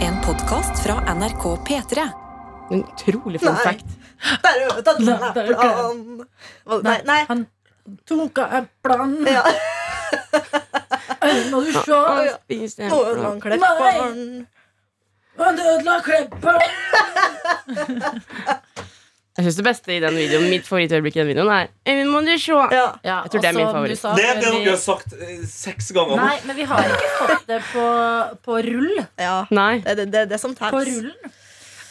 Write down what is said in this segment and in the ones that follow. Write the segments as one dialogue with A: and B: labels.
A: En podkast fra NRK P3.
B: En utrolig fun
C: Nei.
B: fact.
C: Der er det
B: Nei, det er jo ikke
C: plan. Hva- Nei, nei.
B: Han tok av eplene.
C: Ja.
B: Øynene må du se.
C: Å, ja.
B: Spis
C: Nå ødela han
B: eplene.
C: klepperen.
B: Han ødela klippet. Jeg syns det beste i den videoen, mitt favorittøyeblikk i den videoen, er Øynene må du se.
C: Ja.
D: Ja,
B: Jeg tror det er
D: og
B: min
D: som
B: favoritt.
D: du sa
E: Det er
D: før
E: det
D: vi-
E: dere har sagt eh, seks ganger. nå.
D: Nei, men vi har ikke fått det på, på rull.
C: ja.
B: Nei.
C: Det er det, det, det som
D: På
C: telles.
D: rullen.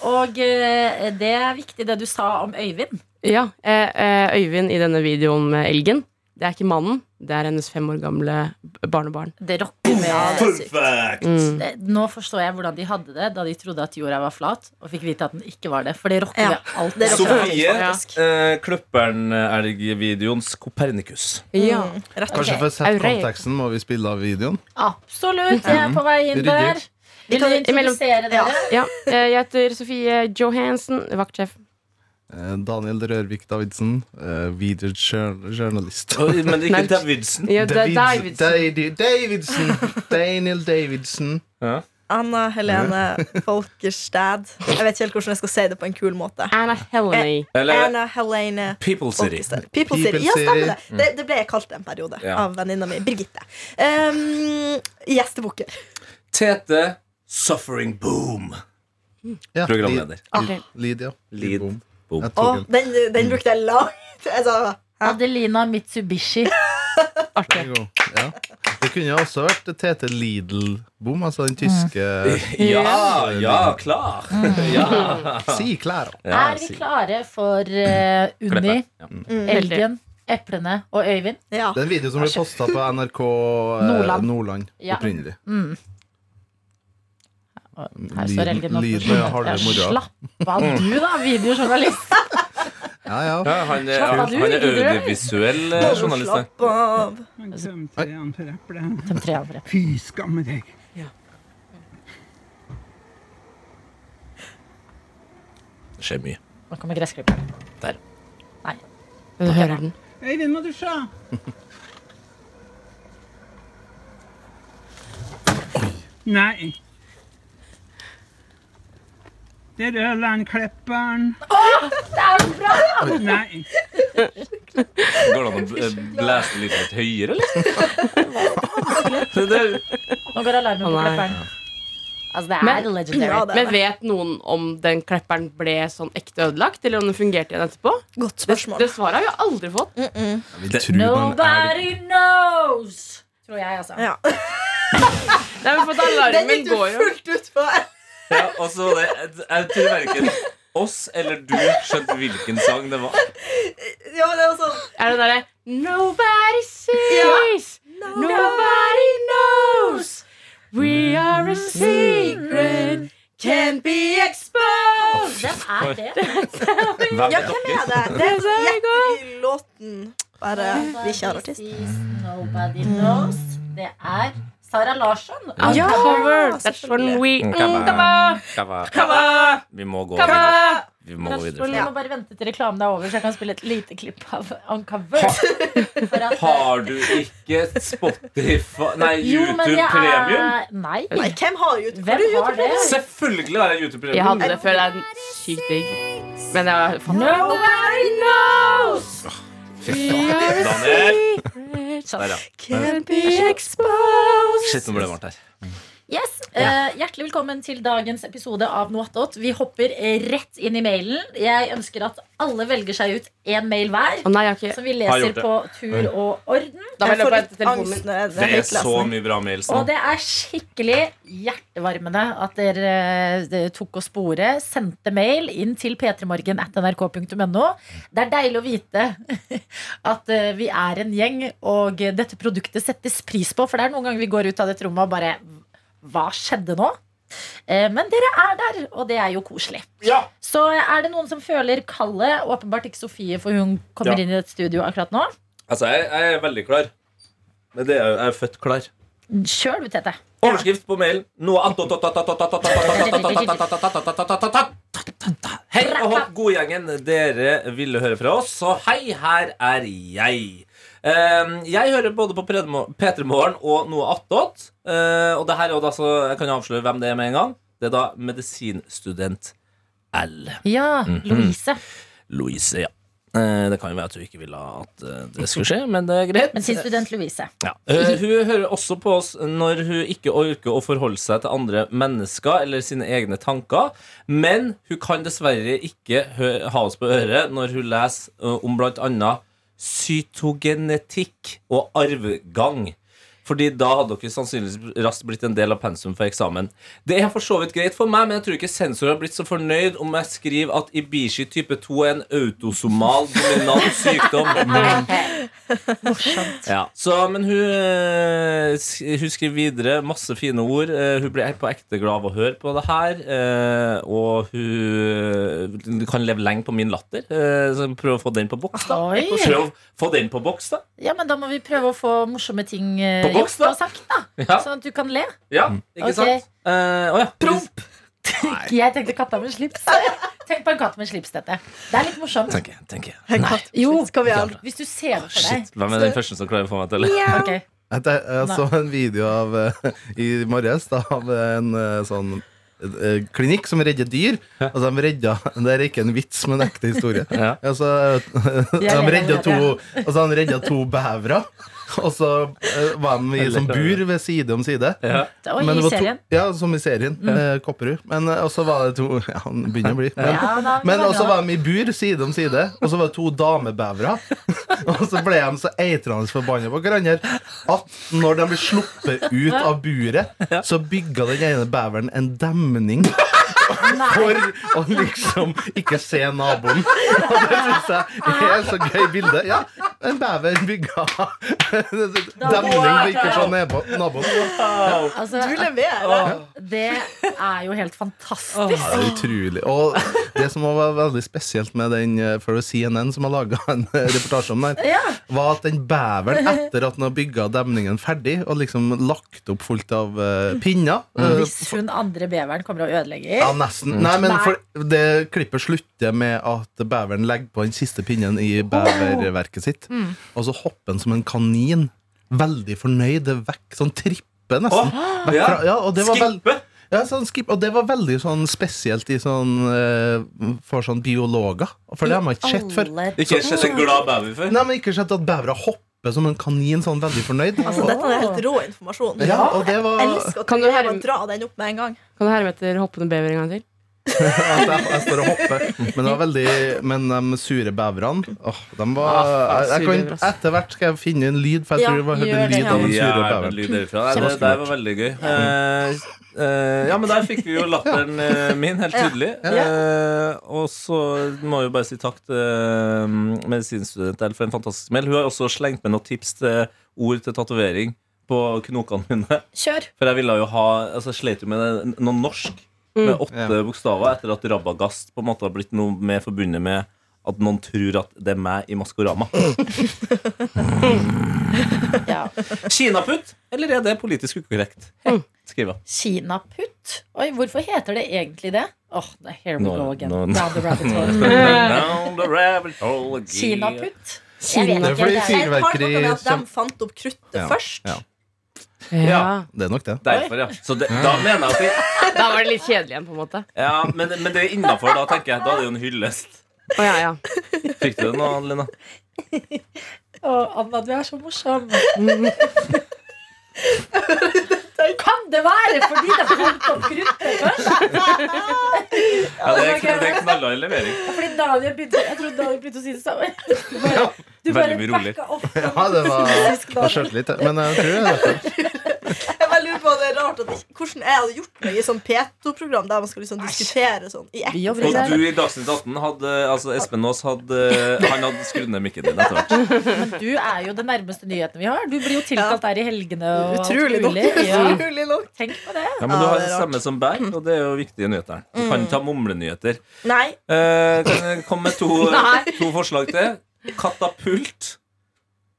D: Og eh, det er viktig, det du sa om Øyvind.
B: Ja, eh, eh, Øyvind i denne videoen med elgen. Det er ikke mannen, det er hennes fem år gamle b- barnebarn.
D: Det rocker med
E: Fun fact!
B: Mm.
D: det, Nå forstår jeg hvordan de hadde det da de trodde at jorda var flat, og fikk vite at den ikke var det. For det rocker
C: Ja,
D: ved alt.
C: det rocker
D: ved
E: Sofie
B: Ja.
E: eh, Kløpperen-elgvideoens Kopernikus.
C: Mm.
B: Ja.
C: Rett og
F: Kanskje
C: slett.
F: for å sette
B: Aurel.
F: konteksten må vi spille av videoen.
D: alt. Absolutt. Jeg er på vei inn
F: Ryddig.
D: der. Vil dere introdusere
C: Ja.
D: dere?
B: ja. Eh, jeg heter Sofie Johansen, vaktsjef.
F: Eh, Daniel Rørvik Davidsen, eh, videojournalist.
E: Oi, Men det er
B: Nei.
E: ikke Davidsen.
B: Ja, det er
F: David-
B: Davidsen.
F: David- Davidsen! Daniel Davidsen.
C: Anna Helene Folkerstad. Jeg vet ikke helt hvordan jeg skal si det på en kul måte.
B: Anna
C: Eh.
B: Helene.
E: Eller
C: Anna Helene
E: People City.
C: Folkestad. People
F: People
C: City. Ja, stemmer det.
F: City.
C: det. Det ble jeg kalt en periode
E: Ja.
C: av venninna mi, Birgitte. Um, Gjestebukker.
E: Tete Suffering Boom.
F: Ja,
E: Programleder.
F: Lid- Lydia.
E: Lid-
F: Bom.
E: Bom.
F: Jeg tok
C: Og
F: den.
C: den, den brukte jeg Altså, langt. Jeg sa, hæ?
D: Adelina Mitsubishi.
B: Artig.
F: Den er god. Ja. Det kunne også vært Tete Lidl-bom, altså den tyske
E: Ja, ja, klar. Mm. Ja.
F: Si-klær.
D: Mm. Er vi klare for eh,
E: Mm.
D: Unni,
E: Kløpper. Ja.
D: Elgen, Eplene og Øyvind?
C: Ja.
F: Det er en video som ble posta på NRK eh,
D: Nordland.
F: Nordland
D: Ja. Mm.
F: opprinnelig.
D: Her står
F: Lyden-
D: Elgen oppe.
F: lyden av harde
D: Ja,
F: mora.
D: Slapp av du, da, videojournalist.
F: Ja, ja.
E: Ja, han, er,
D: Slapp av, du,
E: han er
D: Ingrid.
E: audiovisuell eh, journalist. ja.
C: Slapp av.
G: Han tømte han for eplet.
D: De tre andre.
G: Fy skamme deg.
E: Det skjer mye.
D: Nå kommer gressklipperen.
E: Der.
D: Nei.
B: Du hører den.
G: Øyvind, må du se. Nei. Der øler han klipperen. Å, det er bra! Nei.
E: Går det an å bl- eh, blæse litt litt høyere, eller? Det der-
D: Nå går alarmen på
B: Å, nei.
D: klipperen. Altså, det er
B: Men-
D: legendary.
C: Ja, det
B: Men
C: er det.
B: vet noen om den klepperen ble sånn ekte ødelagt, eller om den fungerte igjen etterpå?
C: Godt
B: Det,
C: spørsmål.
B: det svaret har vi aldri fått.
F: Vi tror på en elg.
D: Nobody knows! Tror jeg, altså.
C: Ja.
B: Nei, men for at
C: Den
B: alarmen
C: gikk du
B: går jo.
C: fullt ut på.
E: Ja, og så var det- Jeg tror verken oss eller du skjønte hvilken sang det var.
C: Ja, men det var sånn
B: Er den derre Nobody sees, nobody knows. We are a secret, can't be exposed.
D: Hvem er det?
E: Hvem
C: Ja,
E: er
C: hvem
E: dere?
C: er det? Det er sånn jettegul låten. Bare vi ikke har artist.
D: Sees, Nobody knows. Det er Sara Larsson.
B: Ja, cover. That's when we
E: Mm,
B: Mm, cover.
E: Cover. Vi må gå videre.
B: Cover.
E: Vi må gå
D: Vi
E: videre.
D: må bare vente til reklamen er over, så jeg kan spille et lite klipp av Uncover. For at,
E: Har du ikke Spotify Nei,
D: Jo, men det
E: YouTube-premium?
D: er- Nei.
C: Nei, hvem har jo
D: Hvem har det?
E: Selvfølgelig har jeg
B: Jeg
E: YouTube-premium.
B: hadde det før. Det er sykt digg. Men det var faen
D: Nobody knows!
E: Daniel! Der, ja.
C: Hvem-
E: Shit, nå ble det varmt her.
D: Yes, eh, Hjertelig velkommen til dagens episode av Noatot. Vi hopper eh, rett inn i mailen. Jeg ønsker at alle velger seg ut én mail hver,
B: Å nei, jeg har ikke
D: som vi
E: Har
D: leser
E: gjort det.
D: på tur og orden.
B: Da må
C: Jeg
B: jeg
C: får
B: løpe etter
C: litt
B: telefonen
C: angst
B: min.
C: når jeg
E: Det er
C: høytlesning.
E: så mye bra mails nå.
D: Og det er skikkelig hjertevarmende at dere eh, det tok og spore, sendte mail inn til p3morgen at nrk.no. Det er deilig å vite at eh, vi er en gjeng, og dette produktet settes pris på. For det er noen ganger vi går ut av dette rommet og bare Hva skjedde nå? Eh, Men dere er der, og det er jo koselig.
E: Ja.
D: Så er det noen som føler kallet. Åpenbart ikke Sofie, for hun kommer
E: Ja.
D: inn i et studio akkurat nå.
E: Altså, jeg, jeg er veldig klar. Men det er jo, jeg er født klar.
D: Kjør du, Tete.
E: Overskrift på mailen. Noe annet Hei og hopp, godgjengen. Dere ville høre fra oss, så hei, her er jeg. Ehm, Jeg hører både på P3morgen og noe attåt. Eh, Og det her er jo da så Jeg kan jo avsløre hvem det er med en gang. Det er da medisinstudent L.
D: Ja, Mm-hmm. Louise.
E: Louise, ja. Eh, Det kan jo være at hun ikke ville at eh, det skulle skje, men det er greit.
D: Men sin student Louise.
E: Ja. Eh, hun hører også på oss når hun ikke orker å forholde seg til andre mennesker eller sine egne tanker, men hun kan dessverre ikke hø ha oss på øret når hun leser eh, om blant annet cytogenetikk og arvgang. Fordi da hadde dere sannsynligvis raskt blitt en del av pensum for eksamen. Det er for så vidt greit for meg, men jeg tror ikke sensor har blitt så fornøyd om jeg skriver at Ibishi type 2 er en autosomal dominant sykdom. Ja. Så, men hun, eh, sk- hun skriver videre masse fine ord. Eh, Hun blir på ekte glad av å høre på det her. eh, Og hun eh, kan leve lenge på min latter. Eh, Så prøv å få den på boks, da.
D: Oi.
E: Prøv å få den på boks, da.
D: Ja, men da må vi prøve å få morsomme ting eh,
E: På boks,
D: gjort og
E: da.
D: sagt, da.
E: Ja,
D: Sånn at du kan le.
E: ja ikke
D: Ok.
E: sant? Eh, å ja. Mm. Promp!
D: Jeg tenkte katta med slips. Tenk på en katt med slips, dette. Det er litt morsomt.
E: Tenker jeg. tenker jeg.
C: En katt med
D: Jo.
C: slips, kaviar.
D: Hvis du ser det for deg.
E: Shit, Hvem er den første som klarer å få meg til å le?
D: Ok.
F: Jeg, te- jeg så en video av, eh, i morges da, av en eh, sånn eh, klinikk som redder dyr. Altså, de redda, Det er ikke en vits, men en ekte historie.
E: Ja.
F: Altså, de
D: ler
F: redda
D: av
F: to, altså, han redda to bevere, og så eh, var de i sånn bur ved side om side.
E: Ja.
D: Oi,
F: Men
D: i
F: det var
D: serien. Mm.
F: To, ja, som i serien. eh, Kopperud. Men eh, og så var det to Ja, han begynner å bli. Men,
D: Ja, da,
F: men
D: det var
F: også
D: bra.
F: var de i bur side om side, og så var det to damebevere. Og så ble de så eitrende forbanna på hverandre at når de ble sluppet ut av buret, så bygga den ene beveren en demning. For å liksom ikke se naboen. Og det syns jeg er så gøy bilde. Ja, en bever bygga demning for ikke å se nebo- naboen.
D: altså,
C: Du leverer.
D: Det er jo helt fantastisk.
F: Ja, det er utrolig. Og det som også var veldig spesielt med den eh, for det var CNN som har laga en eh, reportasje om den, var at den beveren, etter at den har bygga demningen ferdig og liksom lagt opp fullt av eh, pinner eh,
D: Hvis hun andre beveren kommer og ødelegger.
F: ja, nesten. Nei, men for det klippet slutter med at beveren legger på den siste pinnen i beververket sitt. Og så hopper den som en kanin, veldig fornøyd, vekk. Sånn trippe, nesten.
E: Å,
F: Vekk
E: ja.
F: fra, ja, og det var vel-
E: Skippe!
F: ja, sånn skip, og det var veldig sånn spesielt i sånn, eh, for sånn biologer. For det har man ikke sett før.
D: Alle-
E: Ikke sett en glad baby før.
F: Nei, men ikke sett at bævere hopper som en kanin, sånn veldig fornøyd.
C: Altså, dette er helt rå informasjon.
F: ja, og det var
C: Jeg
F: at
C: elsker at
B: Kan
C: du
B: du
C: bare
B: herme-
C: drar den opp med en gang.
B: Kan du herme etter hoppende bever en gang til?
F: jeg, jeg står og hopper. Men det var veldig Men de sure beverne åh, de var
B: Ah, faen,
F: jeg,
B: sure
F: jeg
B: bever,
F: kan,
B: ass.
F: Etter hvert skal jeg finne en lyd, for jeg
C: Ja,
F: tror jeg bare hørte
D: gjør det,
F: en lyd av den sure
E: Jævlig
F: beveren.
E: lyd derifra. Nei, det der var veldig gøy. Eh, eh, ja, men der fikk vi jo latteren eh, min, helt tydelig. Eh, og så må jeg jo bare si takk til eh, medisinstudent Elle for en fantastisk mail. Hun har også slengt med noen tips til ord til tatovering på knokene mine.
D: Kjør!
E: For jeg ville jo ha Altså, jeg slet jo med det- noe norsk med åtte bokstaver etter at Rabagast på en måte har blitt noe mer forbundet med at noen tror at det er meg i Maskorama.
D: Ja.
E: Kinaputt, eller er det politisk ukorrekt? Skriver
D: Kinaputt? Oi, hvorfor heter det egentlig det? Åh, no, here we
E: Nå-
D: go again.
E: nå- nå-
D: Down the rabbit hole.
E: Down the rabbit hole again.
D: Kinaputt? Jeg vet
F: Det
D: ikke.
F: er fordi
C: Jeg
D: Det er,
C: har noe
F: fyrverkeri
C: med at
F: kjem-
C: de fant opp kruttet
F: Ja.
C: først.
F: Ja.
E: Ja.
F: Det er nok det.
E: Derfor, ja. Så det, da mener jeg at det,
B: Da var det litt kjedelig igjen, på en måte.
E: ja, men, men det er innafor, da, tenker jeg. Da er det jo en hyllest.
B: Å, ja, ja.
E: Fikk du det nå, Lina?
D: å, Anna, du er så morsom. Kan det være fordi det fant opp kruttet først?
E: Ja, det er, det er knallhard levering.
D: Fordi Daniel begynte Jeg trodde Daniel begynte å si det samme. Du bare, du bare
E: Veldig mye rolig.
D: backa opp.
F: Ja, det var Jeg skjønte litt, men jeg tror det er derfor.
C: Jeg bare lurer på det er rart at Hvordan jeg hadde gjort meg i sånn P2-program der man skal liksom diskutere sånn i ett.
D: Vi jobber
E: Og
D: ikke
E: du i Dagsnytt 18 hadde Altså, Espen Aas hadde Han hadde skrudd ned mikken din etter hvert.
D: Du er jo det nærmeste nyheten vi har. Du blir jo tilkalt der i helgene. Og alt
C: Utrolig nok.
D: mulig. Ja.
C: Utrolig nok.
D: Tenk på det.
E: Ja, men du
C: Ja,
E: har
C: det er rart.
E: stemme som bær, og det er jo viktige nyheter. Du kan ta mumlenyheter.
C: Nei.
E: Eh, kan jeg komme med to, to forslag til? Katapult.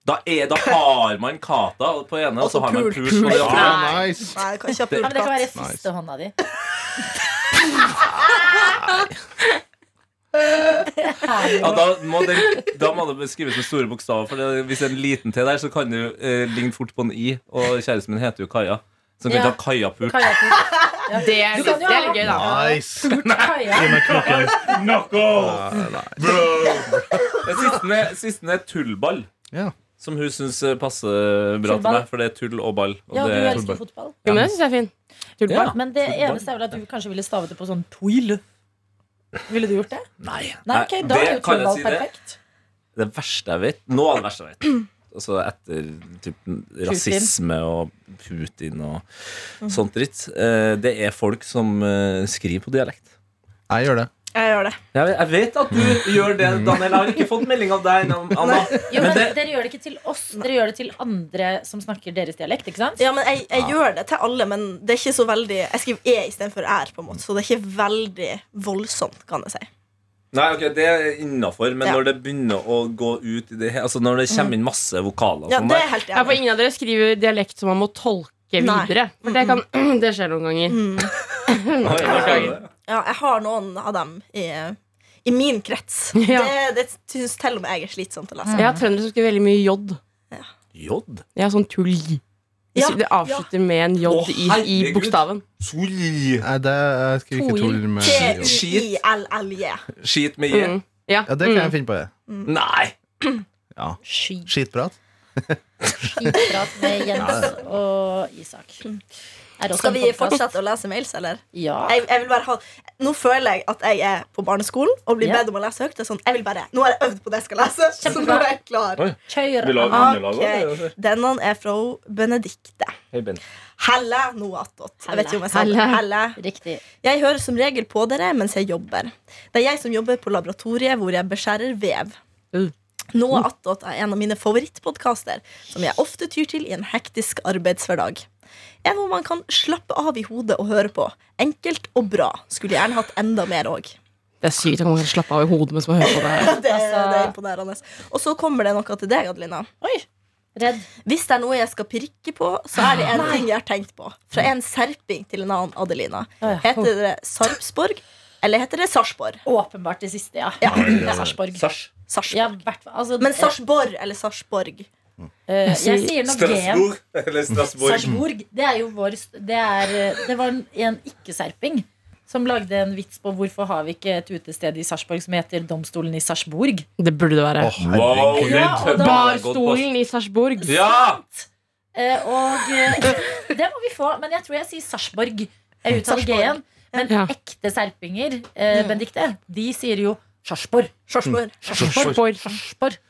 E: Da, er, da har man kata på ene, og så har man
C: pult.
E: pult på det andre.
F: Ah, nice.
C: Nei, jeg kan ikke ha
D: Ja, men det kan være
C: pultkatt.
D: siste hånda di.
E: Ja, da, må det, da må det beskrives med store bokstaver, for det, hvis det er en liten T der, så kan det jo, eh, ligne fort på en I. Og kjæresten min heter jo Kaja. Som kan
D: Ja.
E: ta kajapult.
D: Kajakk.
B: Det er,
D: Du kan jo
B: det er litt gøy, da.
F: Nice!
D: Kajakk.
F: Med kroken.
E: Knock off! Bro! Det siste, siste er tullball.
F: Ja.
E: Som hun syns passer bra
D: Tullball?
E: til meg, for det er tull og ball. Og
D: Ja, du
E: det,
D: elsker fotball.
B: Jo, men det syns jeg er fin. Tullball.
E: Ja.
D: Men det eneste er vel at du kanskje ville stavet det på sånn twill. Ville du gjort det?
E: Nei,
D: Nei, ok, Da
E: det
D: er jo
E: kan jeg
D: tullball
E: si det.
D: perfekt. Mm.
E: Det verste jeg vet Nå er det verste jeg vet Altså etter typ, rasisme og Putin og sånt dritt eh, Det er folk som eh, skriver på dialekt
F: Jeg gjør det.
C: Jeg gjør det.
E: jeg, jeg vet at du gjør det, Daniel Jeg har ikke fått melding av deg, Anna
D: Jo, men
E: Men det-
D: Dere gjør det ikke til oss, dere gjør det til andre som snakker deres dialekt. ikke sant?
C: Ja, men jeg, jeg gjør det til alle, men det er ikke så veldig Jeg skriver E istedenfor R, på en måte, så det er ikke veldig voldsomt, kan jeg si.
E: Nei, ok, det er innenfor Men
C: Ja.
E: når det begynner å gå ut i det, Altså når det kommer inn masse vokaler
C: Ja,
E: sånn
C: det er
E: der,
C: jeg helt
B: Ja, for
C: enig. i.
B: ingen av dere skriver dialekt som man må tolke
C: Nei.
B: videre. For det, kan, det skjer noen ganger.
E: Oi,
B: Beklager.
C: Mm. Ja, jeg har noen av dem i, i min krets.
B: Ja.
C: Det, det syns til og med jeg er slitsomt å lese.
B: Jeg har trøndere som skriver veldig mye J.
E: Jod?
B: Jeg har sånn tull.
C: Ja,
B: Det avslutter med en J
E: Å,
B: i, i
E: herregud.
B: bokstaven.
E: Sol
F: Nei, det jeg skriver ikke tull med
E: Skit.
C: T-u-i-l-l-j.
E: Skit med J
B: Mm. Ja.
F: Ja, det kan jeg finne på. jeg.
E: Nei
F: Ja.
D: Sky
F: Skitprat.
D: skitprat med Jens og Isak. Er også
C: Skal
D: en
C: vi
D: podcast.
C: fortsette å lese mails, eller?
D: Ja.
C: Jeg, jeg vil bare ha Nå føler jeg at jeg er på barneskolen og blir
D: Ja.
C: bedt om å lese høyt. Det er sånn, jeg vil bare, Nå har jeg øvd på det jeg skal lese, så nå
D: Kjempebra.
C: er jeg klar.
E: Oi.
D: Kjør.
E: Vi lager underlag også,
C: Ok, Denne er fra Benedikte.
E: Hei, Bent
C: Helle noe attåt. Jeg vet ikke om jeg sa det.
B: Helle.
C: Helle.
D: Riktig.
C: Jeg hører som regel på dere mens jeg jobber. Det er jeg som jobber på laboratoriet hvor jeg beskjærer vev.
B: Uh.
C: Noe attåt er en av mine favorittpodkaster, som jeg ofte tyr til i en hektisk arbeidshverdag. En hvor man kan slappe av i hodet og høre på. Enkelt og bra. Skulle gjerne hatt enda mer òg.
B: Det er sykt at man kan slappe av i hodet mens man hører på det.
C: Det,
D: Altså-
C: det er imponerende. Og så kommer det noe til deg, Adelina.
D: Oi. Redd.
C: Hvis det er noe jeg skal pirke på, så er det en ting jeg har tenkt på. Fra en serping til en annen Adelina.
D: Ja.
C: Heter det Sarpsborg, eller heter det Sarpsborg?
D: Åpenbart det siste, ja.
C: Ja.
D: Det er Sarpsborg.
E: Sars
C: Sarpsborg.
D: Ja, hvert fall. Altså,
C: Men Sarpsborg eller Sarpsborg?
D: eh, jeg sier nok G-en.
E: Eller Strasbourg
D: Sarpsborg. Det er jo vår st- Det, er, eh, det var en, en ikke-serping som lagde en vits på hvorfor har vi ikke et utested i Sarpsborg som heter Domstolen i Sarpsborg.
B: Det burde det være.
F: Å, herregud.
D: Ja, og da-
B: Barstolen i Sarpsborg.
E: Ja!
D: Eh, og eh, det må vi få. Men jeg tror jeg sier Sarpsborg. Jeg uttaler
C: Sarpsborg.
D: G-en. Men
B: Ja. Mm.
D: ekte serpinger, eh, Benedikte, de sier jo Sarpsborg.
C: Sarpsborg.
D: Mm.
B: Sarpsborg.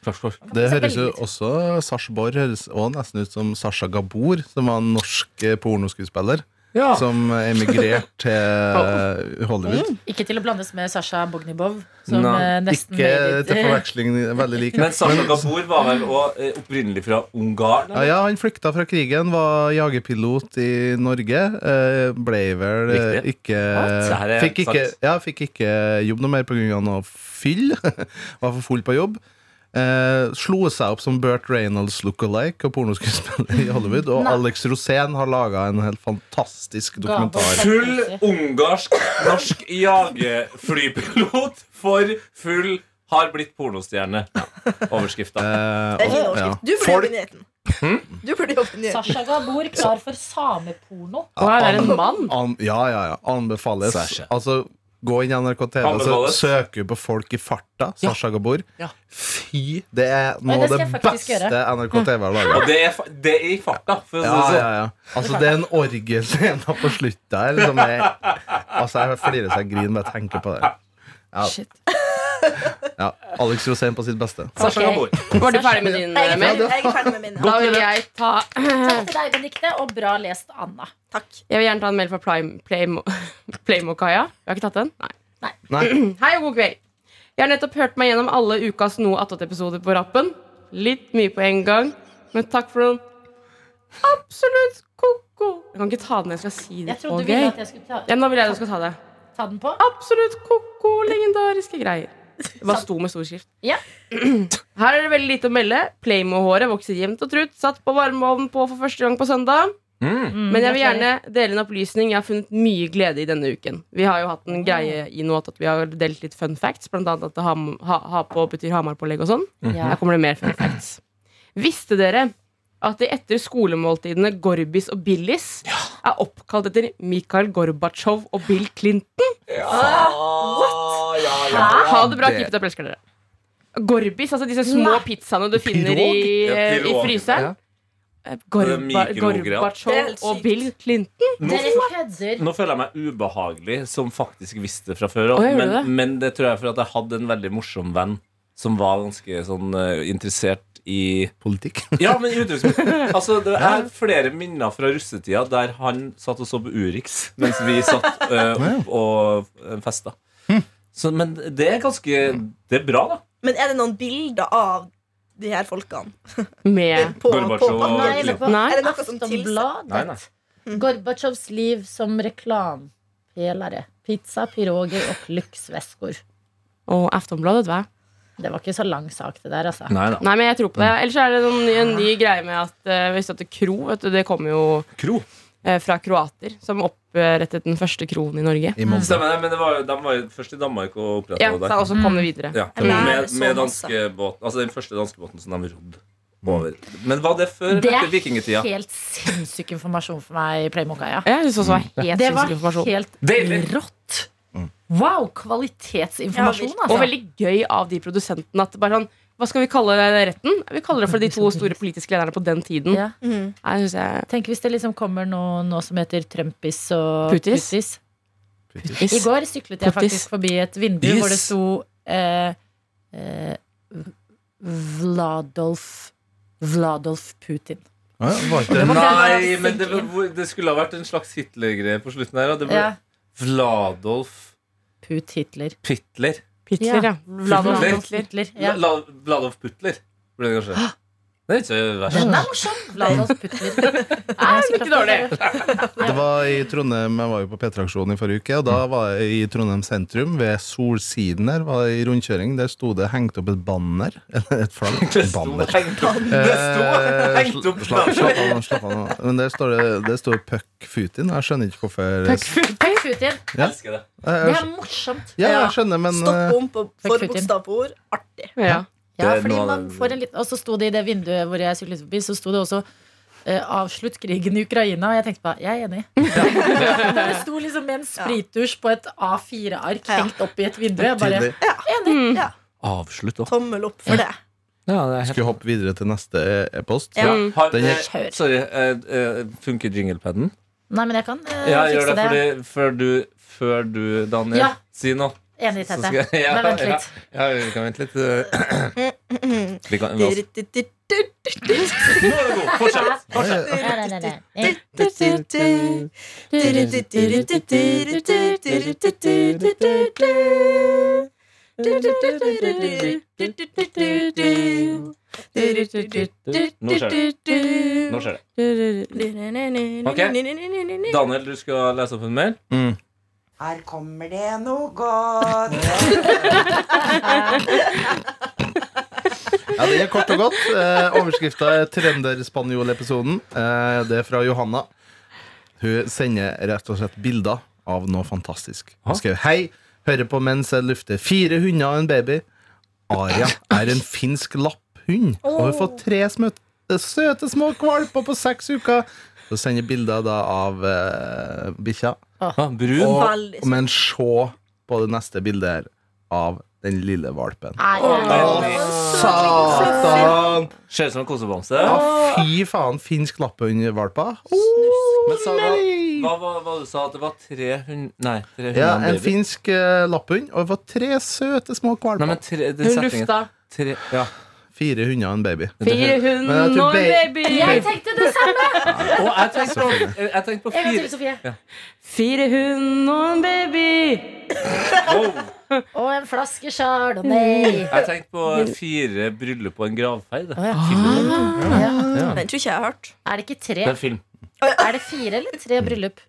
D: Sarpsborg.
F: Det høres jo også Sarpsborg høres også nesten ut som Sasha Gabor, som var en norsk eh, pornoskuespiller
E: Ja.
F: som emigrerte til Hollywood.
D: Ikke til å blandes med Sasha Bognibov, Mm. som
E: Nei,
D: eh, nesten
F: Ikke
D: made it.
F: til forveksling veldig lik.
E: Men Sasha Gabor var vel også eh, opprinnelig fra Ungarn?
F: Ja, ja, han flykta fra krigen, var jagerpilot i Norge. eh, Ble vel eh,
E: Riktig.
F: ikke
E: What? Det her er
F: fikk ikke,
E: sant.
F: ja, fikk ikke jobb noe mer pga. noe fyll. Var for full på jobb. Eh, slo seg opp som Burt Reynolds look-alike og pornoskuespiller i Hollywood. Og Alex Rosén har laga en helt fantastisk dokumentar.
E: Full ungarsk-norsk jagerflypilot for full har blitt pornostjerne. Overskrifta.
F: Eh,
C: Det er fin
F: og- ja.
C: overskrift. Du burde
F: Folk- Hm?
C: jobbe i nyheten. Du burde jobbe i nyheten.
D: Sasha Gabor klar for sameporno.
B: Å, ja, det er en mann.
F: An, ja, ja, ja. Anbefales.
E: Sasha.
F: Altså, gå inn i NRK TV og så
E: Anbefales.
F: søker du på folk i farta. Sasha Gabor.
E: Ja.
F: Fy! Det er
D: Nei, det
F: noe av
D: skal
F: det
D: jeg faktisk
F: beste NRK TV har laga.
E: Og det er, fa- det er i farta, for å si
F: Ja,
E: det
F: ja,
E: sånn.
F: ja. Altså, det er en orgelscene på slutt der som er Altså, jeg flirer så jeg griner bare jeg tenker på det. Ja. Ja. Alex Rosén på sitt beste.
E: Sasha
D: Ok.
E: Gabor.
B: Var du ferdig med din
C: Jeg er
B: eh, mail?
C: ferdig, jeg er ferdig med min.
B: Da vil jeg ta
D: Takk til deg, Benedikte, og bra lest, Anna.
C: Takk.
B: Jeg vil gjerne ta en mail fra Playmo- Playmo- Playmo-Kaja. Vi har ikke tatt den? Nei.
F: Nei,
B: Hei og god kveld. Jeg har nettopp hørt meg gjennom alle ukas Noe attåt-episoder på rappen. Litt mye på en gang, men takk for noen absolutt ko-ko. Jeg kan ikke ta den, jeg skal si det.
D: Jeg trodde
B: Ok.
D: du ville at jeg skulle ta,
B: ja, Nå vil jeg at du skal ta det.
D: ta den på.
B: Absolutt ko-ko, legendariske greier. Det bare sto med stor skrift.
D: Ja.
B: Her er det veldig lite å melde. Playmo-håret vokser jevnt og trutt. Satt på varmeovnen på for første gang på søndag. Men jeg vil gjerne dele en opplysning jeg har funnet mye glede i denne uken. Vi har jo hatt en greie i noe at vi har delt litt fun facts, blant annet at ham, ha, ha på betyr Hamar-pålegg og sånn.
D: Ja.
B: Her kommer det mer fun facts. Visste dere at de etter skolemåltidene Gorbis og Billis er oppkalt etter Mikhail Gorbatsjov og Bill Clinton. Ha det bra, gift deg og elsker dere. Gorbis, altså disse små pizzaene du finner i, eh,
E: Ja,
B: i
E: pirog.
B: fryseren.
F: Ja.
B: Gorba,
E: Det er mikrogreier.
C: Det er helt
B: Gorbatsjov
C: sykt.
B: og Bill Clinton.
D: Dere kødder.
E: Nå føler jeg meg ubehagelig, som faktisk visste det fra før.
B: Å, gjør du
E: men,
B: det?
E: men det tror jeg er fordi at jeg hadde en veldig morsom venn som var ganske sånn eh, interessert i
F: Politikk.
E: Ja, men i utenrikspolitikk. Altså, det er flere minner fra russetida der han satt og så på Urix mens vi satt eh, opp og eh, festa. Så, men det er ganske Det er bra, da.
C: Men er det noen bilder av de her folkene?
B: Med
C: På,
E: Gorbatsjov og-
D: Nei, eller på
B: Nei.
D: er det
C: noe som tilsier-
E: Nei, nei.
D: Aftonbladet. Gorbatsjovs liv som reklamepelare. Pizza, piroger og lyksvesker.
B: og Aftonbladet, hva?
D: Det var ikke så lang sak, det der, altså.
E: Nei, da.
B: Nei, men jeg tror på det. Ellers er det noen, en ny greie med at eh, hvis det er kro, vet du, det kommer jo
E: Kro.
B: eh, fra kroater, som opprettet den første kroen i Norge.
F: I Molde.
E: Stemmer det. Men det var, jo- de var jo først i Danmark og oppretta
B: Ja,
E: det
B: så
E: der.
B: også kom det videre.
E: Ja,
C: Men det er
E: med
C: så
E: med
C: masse.
E: danskebåten. Altså den første danskebåten som de rodde over. Men var det før
D: Det
E: eller etter
D: er
E: vikingtida?
D: helt sinnssyk informasjon for meg, Playmokaia.
B: Jeg synes også
E: Mm.
B: det var helt
D: Det var
B: sinnssyk informasjon.
D: helt
E: Deilig.
D: rått.
E: Mm.
D: Wow,
C: Ja,
D: kvalitetsinformasjon,
C: virkelig.
B: Og
D: altså.
B: veldig gøy av de produsentene at det bare sånn hva skal vi kalle retten? Vi kaller det for de to store politiske lederne på den tiden.
D: Ja.
B: Nei, synes jeg
D: Tenk hvis det liksom kommer noe, noe som heter Trumpis og
B: Putis.
D: Putis. I
B: Putis.
D: går syklet jeg
B: Putis.
D: faktisk forbi et vindu
E: Yes.
D: hvor det sto eh, eh, Vladolf Vladolf Putin.
F: Ja, var ikke det-
E: Nei, men det, var- hvor- det skulle ha vært en slags Hitler-greie på slutten her. da. Det var
D: Ja.
E: Vladolf
D: Put Hitler.
E: Pitler.
B: Pitler, ja. Vladimir
E: Putler.
B: Putler.
D: Hitler. Ja.
E: Ja. Vladolf Putler ble det kanskje. Det er ikke så verst.
D: Den er morsom! Vladolf Putler. Nei,
B: ikke dårlig.
F: Det var i Trondheim, Jeg var jo på P3-aksjonen i forrige uke, og da var jeg i Trondheim sentrum, ved Solsiden der, var jeg i rundkjøring. Der sto det hengt opp et banner. Eller et flagg.
E: Det sto
F: Banner.
E: hengt opp, det sto
F: Eh,
E: hengt
F: sla-
E: opp
F: Slapp slapp av nå. slapp av nå Men der står det, der står Puck Putin. Jeg skjønner ikke hvorfor
D: Puck Putin.
E: Jeg elsker det.
F: Jeg-
D: Det
F: jeg-
D: er morsomt.
F: Ja, jeg skjønner, men
C: Stopp
F: eh,
C: om på
D: Fuck Putin.
C: forbokstav på ord. Artig.
B: Ja.
D: Ja,
E: Det er
D: fordi
E: noe av
D: man
E: det-
D: får en liten Og så sto det i det vinduet hvor jeg syklet forbi, så sto det også eh, 'Avslutt krigen i Ukraina'. Og jeg tenkte bare Jeg er enig. det sto liksom med en spritdusj på et A4-ark
C: Ja.
D: hengt opp i et vindu. Jeg bare
F: tydelig.
E: Avslutt opp.
C: Tommel opp for det.
F: Skal vi hoppe videre til neste e-post?
C: Ja.
E: Ja, har,
F: Den
E: eh,
D: kjør.
E: sorry, eh, eh, funker jinglepaden?
D: Nei, men jeg kan eh,
E: Ja, gjør
D: fikse
E: det
D: det.
E: fordi, før, du, før du, Daniel,
D: Ja.
E: si noe.
D: Enig,
E: Så
D: Tete.
E: skal jeg- ja,
D: Men vent litt.
E: Ja, ja, vi kan vente litt. eh.
C: Mm-hmm.
E: Vi kan, vi også-
C: Du-du-du-du-du.
E: Nå er det god. Fortsett.
D: Nei, nei, nei, nei. Eh,
C: Du-du-du-du. Du-du-du-du-du-du-du-du-du-du-du. Du-du-du-du-du-du-du-du-du-du.
E: Nå skjer det. Nå skjer det. Daniel, du skal lese opp en mail.
F: Mm.
H: Her kommer det noe godt.
F: Ja, det er kort og godt. Eh, Overskrifta er Trønderspanjol-episoden. Eh, det er fra Johanna. Hun sender rett og slett bilder av noe fantastisk. Hun skrev Hei, hører på mens jeg lufter fire hunder og en baby. Aria er en finsk lapphund, og hun får tre smøt søte små kvalper på seks uker. Så sender jeg bilder da av eh, bikkja.
E: Ah, brun.
C: Veldig
F: Og, men se på det neste bildet her av den lille valpen.
D: Nei, nei, nei.
F: Å, satan!
E: Ser ut som en kosebamse.
F: Ja, fy faen, finsk lapphundvalper.
E: Men
F: altså,
E: Sara, hva var hva du sa? At det var 300 Nei, 300
F: Ja, en
E: baby.
F: finsk eh, lapphund. Og vi får tre søte små
E: Nei,
F: kvalper.
E: men tre, det
B: Hun
E: settingen.
B: lufta.
E: Tre, ja.
F: Fire hunder og en baby.
B: Fire hund
F: Men jeg tror
B: og en
F: be-
B: baby.
D: Jeg tenkte det samme!
E: Og jeg tenkte på, jeg tenkte på
D: En gang til,
E: fire
D: Sofie.
B: Fire hund og en baby.
E: wow.
D: Og en flaske chardonnay.
E: Jeg tenkte på fire bryllup og en gravferd.
D: Å, ja.
C: Den tror ikke jeg har hørt.
D: Er det ikke
E: Det
D: tre?
E: er en film.
D: Er det fire eller tre bryllup?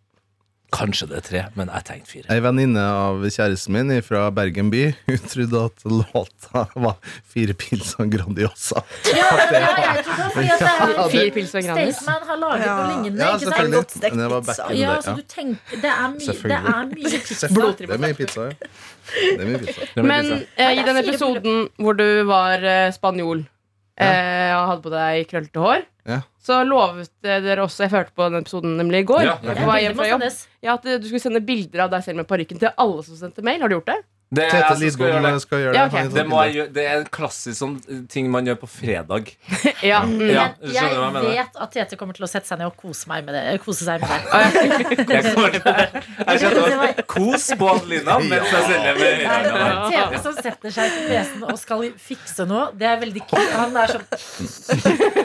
E: Kanskje det er tre, men jeg tenkte fire.
F: Ei venninne av kjæresten min fra Bergen by Hun trodde at låta var Fire pils og Grandiosa.
D: Ja, ja, jeg tror det, fordi at det er
F: Ja, det-
B: Fire pils og Grandis.
D: Staysman har laget noe lignende.
F: Ja,
D: ikke
C: Det er
F: selvfølgelig.
D: sant?
C: godt stekt
F: Men det var
C: pizza.
F: back in the
D: Ja,
F: day,
D: så du tenker, det, er mye, det
F: Selvfølgelig.
D: er mye pizza.
F: Selvfølgelig. Det er mye pizza. ja. Det er mye pizza.
E: Det er min
B: Men
E: pizza.
B: eh, i
D: det er
B: den
D: fire
B: episoden hvor du var eh, spanjol Eh, og hadde på deg krøllete hår.
F: Ja.
B: Så lovet eh, dere også Jeg hørte på den episoden nemlig i går.
E: Ja,
B: jeg
E: jeg
B: var hjemme fra
D: Bilder
B: jobb
D: må sendes.
B: ja, At eh, du skulle sende bilder av deg selv med parykken til alle som sendte mail. Har du gjort det?
E: Det er,
F: Tete
E: jeg som skal gjøre
F: Lidbom
E: det.
F: skal gjøre det.
B: Ja, ok.
F: Han er
E: Det,
F: sånn-
E: må jeg gjøre. det er en klassisk sånn ting man gjør på fredag.
B: ja. Mm.
E: Ja,
D: Men
E: skjønner du hva jeg
D: jeg
E: mener?
D: vet at Tete kommer til å sette seg ned og kose, meg med det, kose seg med det.
E: Jeg kommer til det. Jeg kjenner det var kos på Adelina mens jeg selger med
D: Nei,
E: høyrehånda der.
D: Tete som setter seg på PC-en og skal fikse noe, det er veldig kult. Han er sånn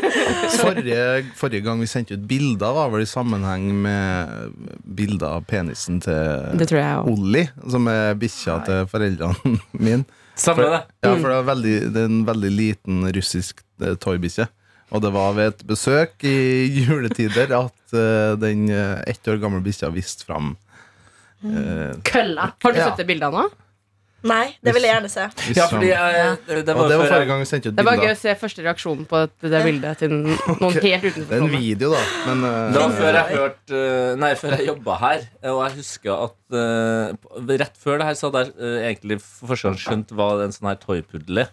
F: Forrige, forrige gang vi sendte ut bilder, var vel i sammenheng med bilder av penisen til
B: Det tror jeg òg.
F: Olli, som er bikkja til foreldrene mine.
E: Samme det.
F: Ja, for det er, veldig, det er en veldig liten russisk eh, toybikkje. Og det var ved et besøk i juletider at eh, den eh, ett år gamle bikkja viste fram eh,
B: Mm.
D: kølla.
B: Har du
F: Ja.
B: sett det bildet av nå?
C: Nei, det vil jeg gjerne se.
F: viste
E: Ja, fordi jeg, det
F: fram. Og
E: var
F: det
E: før
F: var forrige
E: jeg-
F: gang vi sendte ut
B: Det var gøy
F: bilder.
B: å se første reaksjonen på det der bildet til noen helt utenfor.
F: Det er en
B: rommet.
F: video, da. Men eh,
E: Det var før jeg hørte eh, Nei, før jeg jobba her. Og jeg husker at eh, på- Rett før det her så hadde jeg eh, egentlig for første gang skjønt hva en sånn her toypuddel er.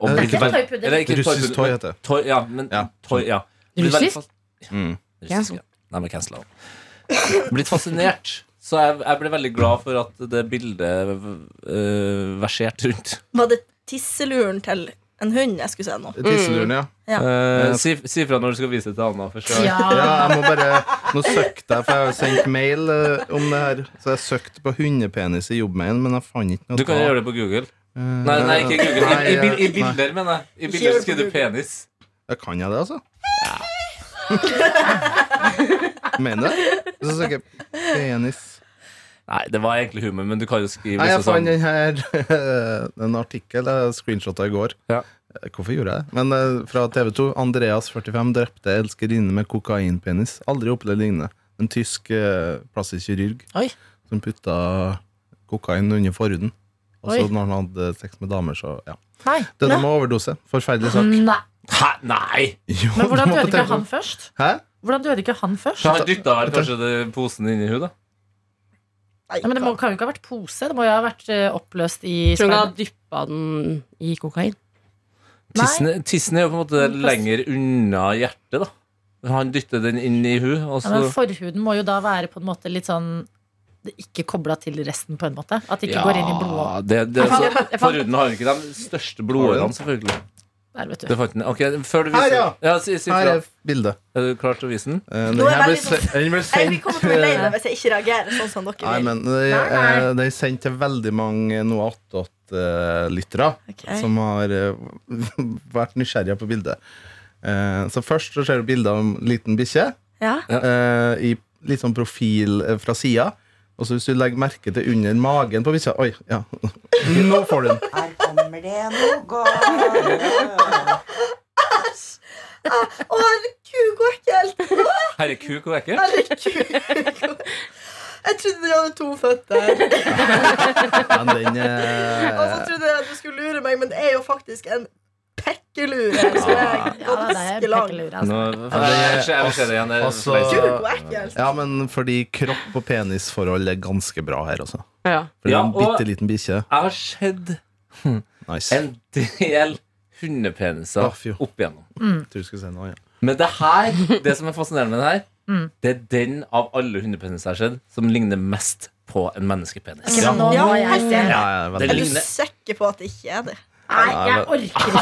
E: Og
F: Det er
E: ble
F: ikke
E: veld-
D: en toypuddel.
E: Eller ikke en toypuddel,
F: russisk toy
E: men
F: heter det.
E: Toy, ja, men
F: Ja.
E: toy, ja. Blitt
B: Russisk?
E: veldig fas-
F: Mm.
B: Ja.
E: Russisk, ja. Nei, men cancela den. Blitt fascinert. Så jeg, jeg ble veldig glad for at det bildet eh, verserte rundt.
C: Var det tisseluren til en hund jeg skulle se nå?
B: Mm.
F: Tisseluren, ja.
E: Eh, si, si fra når du skal vise det til Anna. Først, ja.
F: Ja, jeg må bare Nå søkte jeg, for jeg har sendt mail eh, om det her. Så jeg søkte på hundepenis i jobbmailen, men jeg fant ikke noe.
E: Du kan
F: ta-
E: gjøre det på Google. Nei, nei ikke Google. I, i, bil- i bilder, mener jeg. I bilder skriver du penis.
F: Ja, kan jeg det, altså? Mener du det? Så søker jeg penis
E: Nei, det var egentlig humor, men du kan jo skrive
F: Nei, jeg
E: sånn
F: fant
E: som-
F: den her En artikkel jeg screenshotta i går.
E: Ja.
F: Eh, Hvorfor gjorde jeg det? Men eh, fra TV 2. Andreas 45 drepte elskerinne med kokainpenis. Aldri opplevd lignende. En tysk eh, plastisk kirurg
D: Oi.
F: som putta kokain under forhuden. Og så
D: Oi.
F: når han hadde sex med damer, så ja.
D: Nei.
F: Døde med overdose. Forferdelig sak.
D: Nei.
E: Hæ, nei!
F: Jo,
D: Men
F: det
D: hvordan
F: var på
D: døde ikke
F: TV2.
D: han først?
F: Hæ?
D: Hvordan døde ikke han først?
E: Så han dytta vel kanskje det, posen inn i henne, da?
C: Nei,
D: Nei, men Det må, kan jo ikke ha vært pose. Det må jo ha vært eh, oppløst i
B: Tror du hun
D: sperm.
B: har dyppa den i kokain?
D: Nei.
E: Tissen, tissen er jo på en måte lenger unna hjertet, da. Han dytter den inn i henne, og
D: Ja, men
E: så
D: forhuden må jo da være på en måte litt sånn det er ikke kobla til resten, på en måte. At det ikke går inn i blodårene.
E: det, det,
D: Jeg
E: så,
D: fant- jeg fant-
E: Foruten har han ikke de største blodårene, selvfølgelig.
D: Der, vet
E: Det
D: du.
E: fant den. Ok, før du
F: Her,
E: viser
F: ja.
E: ja, si, si
F: Her
E: fra.
F: er bildet.
E: Er du klar til å vise den?
F: Eh,
C: Nå
F: Den
C: er jeg
F: her ble
C: veldig sånn-
F: se- den ble
C: Jeg vil
F: sendt
C: komme til å bli lei meg hvis jeg ikke reagerer sånn som dere
F: Nei,
C: vil.
F: men det
D: Nei,
F: er, det er sendt til veldig mange Noe attåt-lyttere
C: Ok.
F: som har eh, vært nysgjerrige på bildet. Eh, så først så ser du bilde av en liten bikkje
C: Ja.
F: eh, i litt sånn profil eh, fra sida. Og så hvis du legger merke til under magen på bikkja Oi, ja. Nå får du den.
H: Her kommer det noe godt.
C: Å, herregud, hvor ekkelt!
E: Herre kuk og ekkel?
C: Herregud. Jeg trodde dere hadde to føtter.
F: Men den
C: Og så
F: eh,
C: trodde dere at du skulle lure meg, men det er jo faktisk en pekkelure. Som er
D: Ja, det er
C: ganske lang.
D: pekkelure, altså.
E: Nå, jeg, jeg vil se det igjen. Det er
F: altså-
E: fleisen.
C: Gud, hvor ekkelt!
F: Ja, men fordi kropp- og penisforhold er ganske bra her, altså.
B: Ja.
F: For det er
E: Ja,
F: en
E: og-
F: bitte liten bikkje.
E: Jeg har sett
F: Nice.
E: en del hundepeniser
F: Å, fy.
E: opp igjennom.
F: Jeg tror du skulle si noe, ja.
E: Men det her, det som er fascinerende med det her,
D: Mm.
E: det er den av alle hundepeniser jeg har sett som ligner mest på en menneskepenis.
D: Ok, men nå
C: Ja,
D: må jeg
C: helt
D: se.
C: enig.
F: Ja, jeg er
C: Er
E: Det
F: veldig,
C: du
E: ligner-
C: sikker på at det ikke er det?
D: Nei, jeg orker ikke.
F: jeg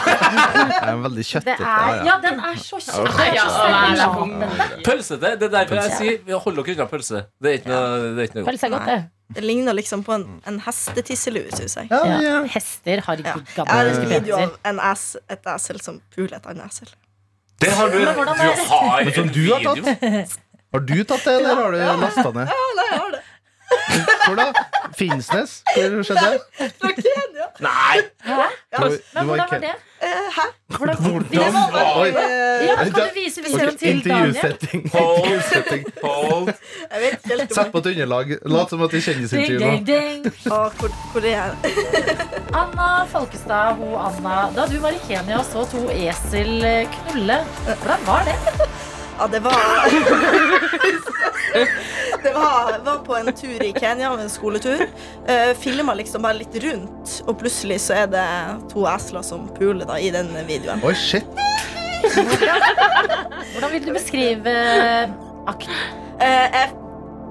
F: er veldig
D: Det
F: kjøttete.
D: er,
F: ja, ja.
D: ja, den er så kjekk.
B: Ja, det er for
E: Pølsete! Det er derfor jeg sier hold dere unna pølse. Det er ikke noe, det er ikke noe godt.
D: Pølse er godt, det.
C: Det ligner liksom på en, en hestetisselue, syns jeg.
F: Ja, ja.
D: Ja. Hester har
C: Ja.
D: gigantiske
C: Jeg har en video
D: peniser.
C: av en es, et esel som puler et annet esel.
E: Det har du,
D: hvordan
E: du
D: er det?
E: har
F: Men som
E: en
F: du har
E: video.
F: Har du tatt det, eller har du lasta ned?
C: Ja, nei, jeg har det.
F: Hvor da? Finnsnes? Hvor skjedde det?
C: Fra Kenya.
E: Nei!
F: Du var- du
D: Men
F: var i
D: hvordan var
F: Ke-
D: det?
C: Eh, hæ?
D: Hvordan?
F: Hvordan var det?
C: eh,
D: Ja, kan du vise videoen til Daniel?
F: Intervjusetting.
E: Hold.
F: Intervjusetting.
E: Hold.
C: Jeg vet ikke helt
F: Sett
C: om
F: på et underlag. Lat som at det er
D: Ding,
F: kjendisintervju
D: ding,
F: nå.
D: ding.
C: Å, hvor, hvor er jeg?
D: Anna Folkestad, hun Anna. Da du var i Kenya og så to esel knulle, hvordan var det?
C: Ja, det var Det var, var på en tur i Kenya, en skoletur. Uh, Filma liksom bare litt rundt, og plutselig så er det to esler som puler da, i den videoen.
F: Oi, shit.
D: Hvordan vil du beskrive akten?
C: Eh, jeg,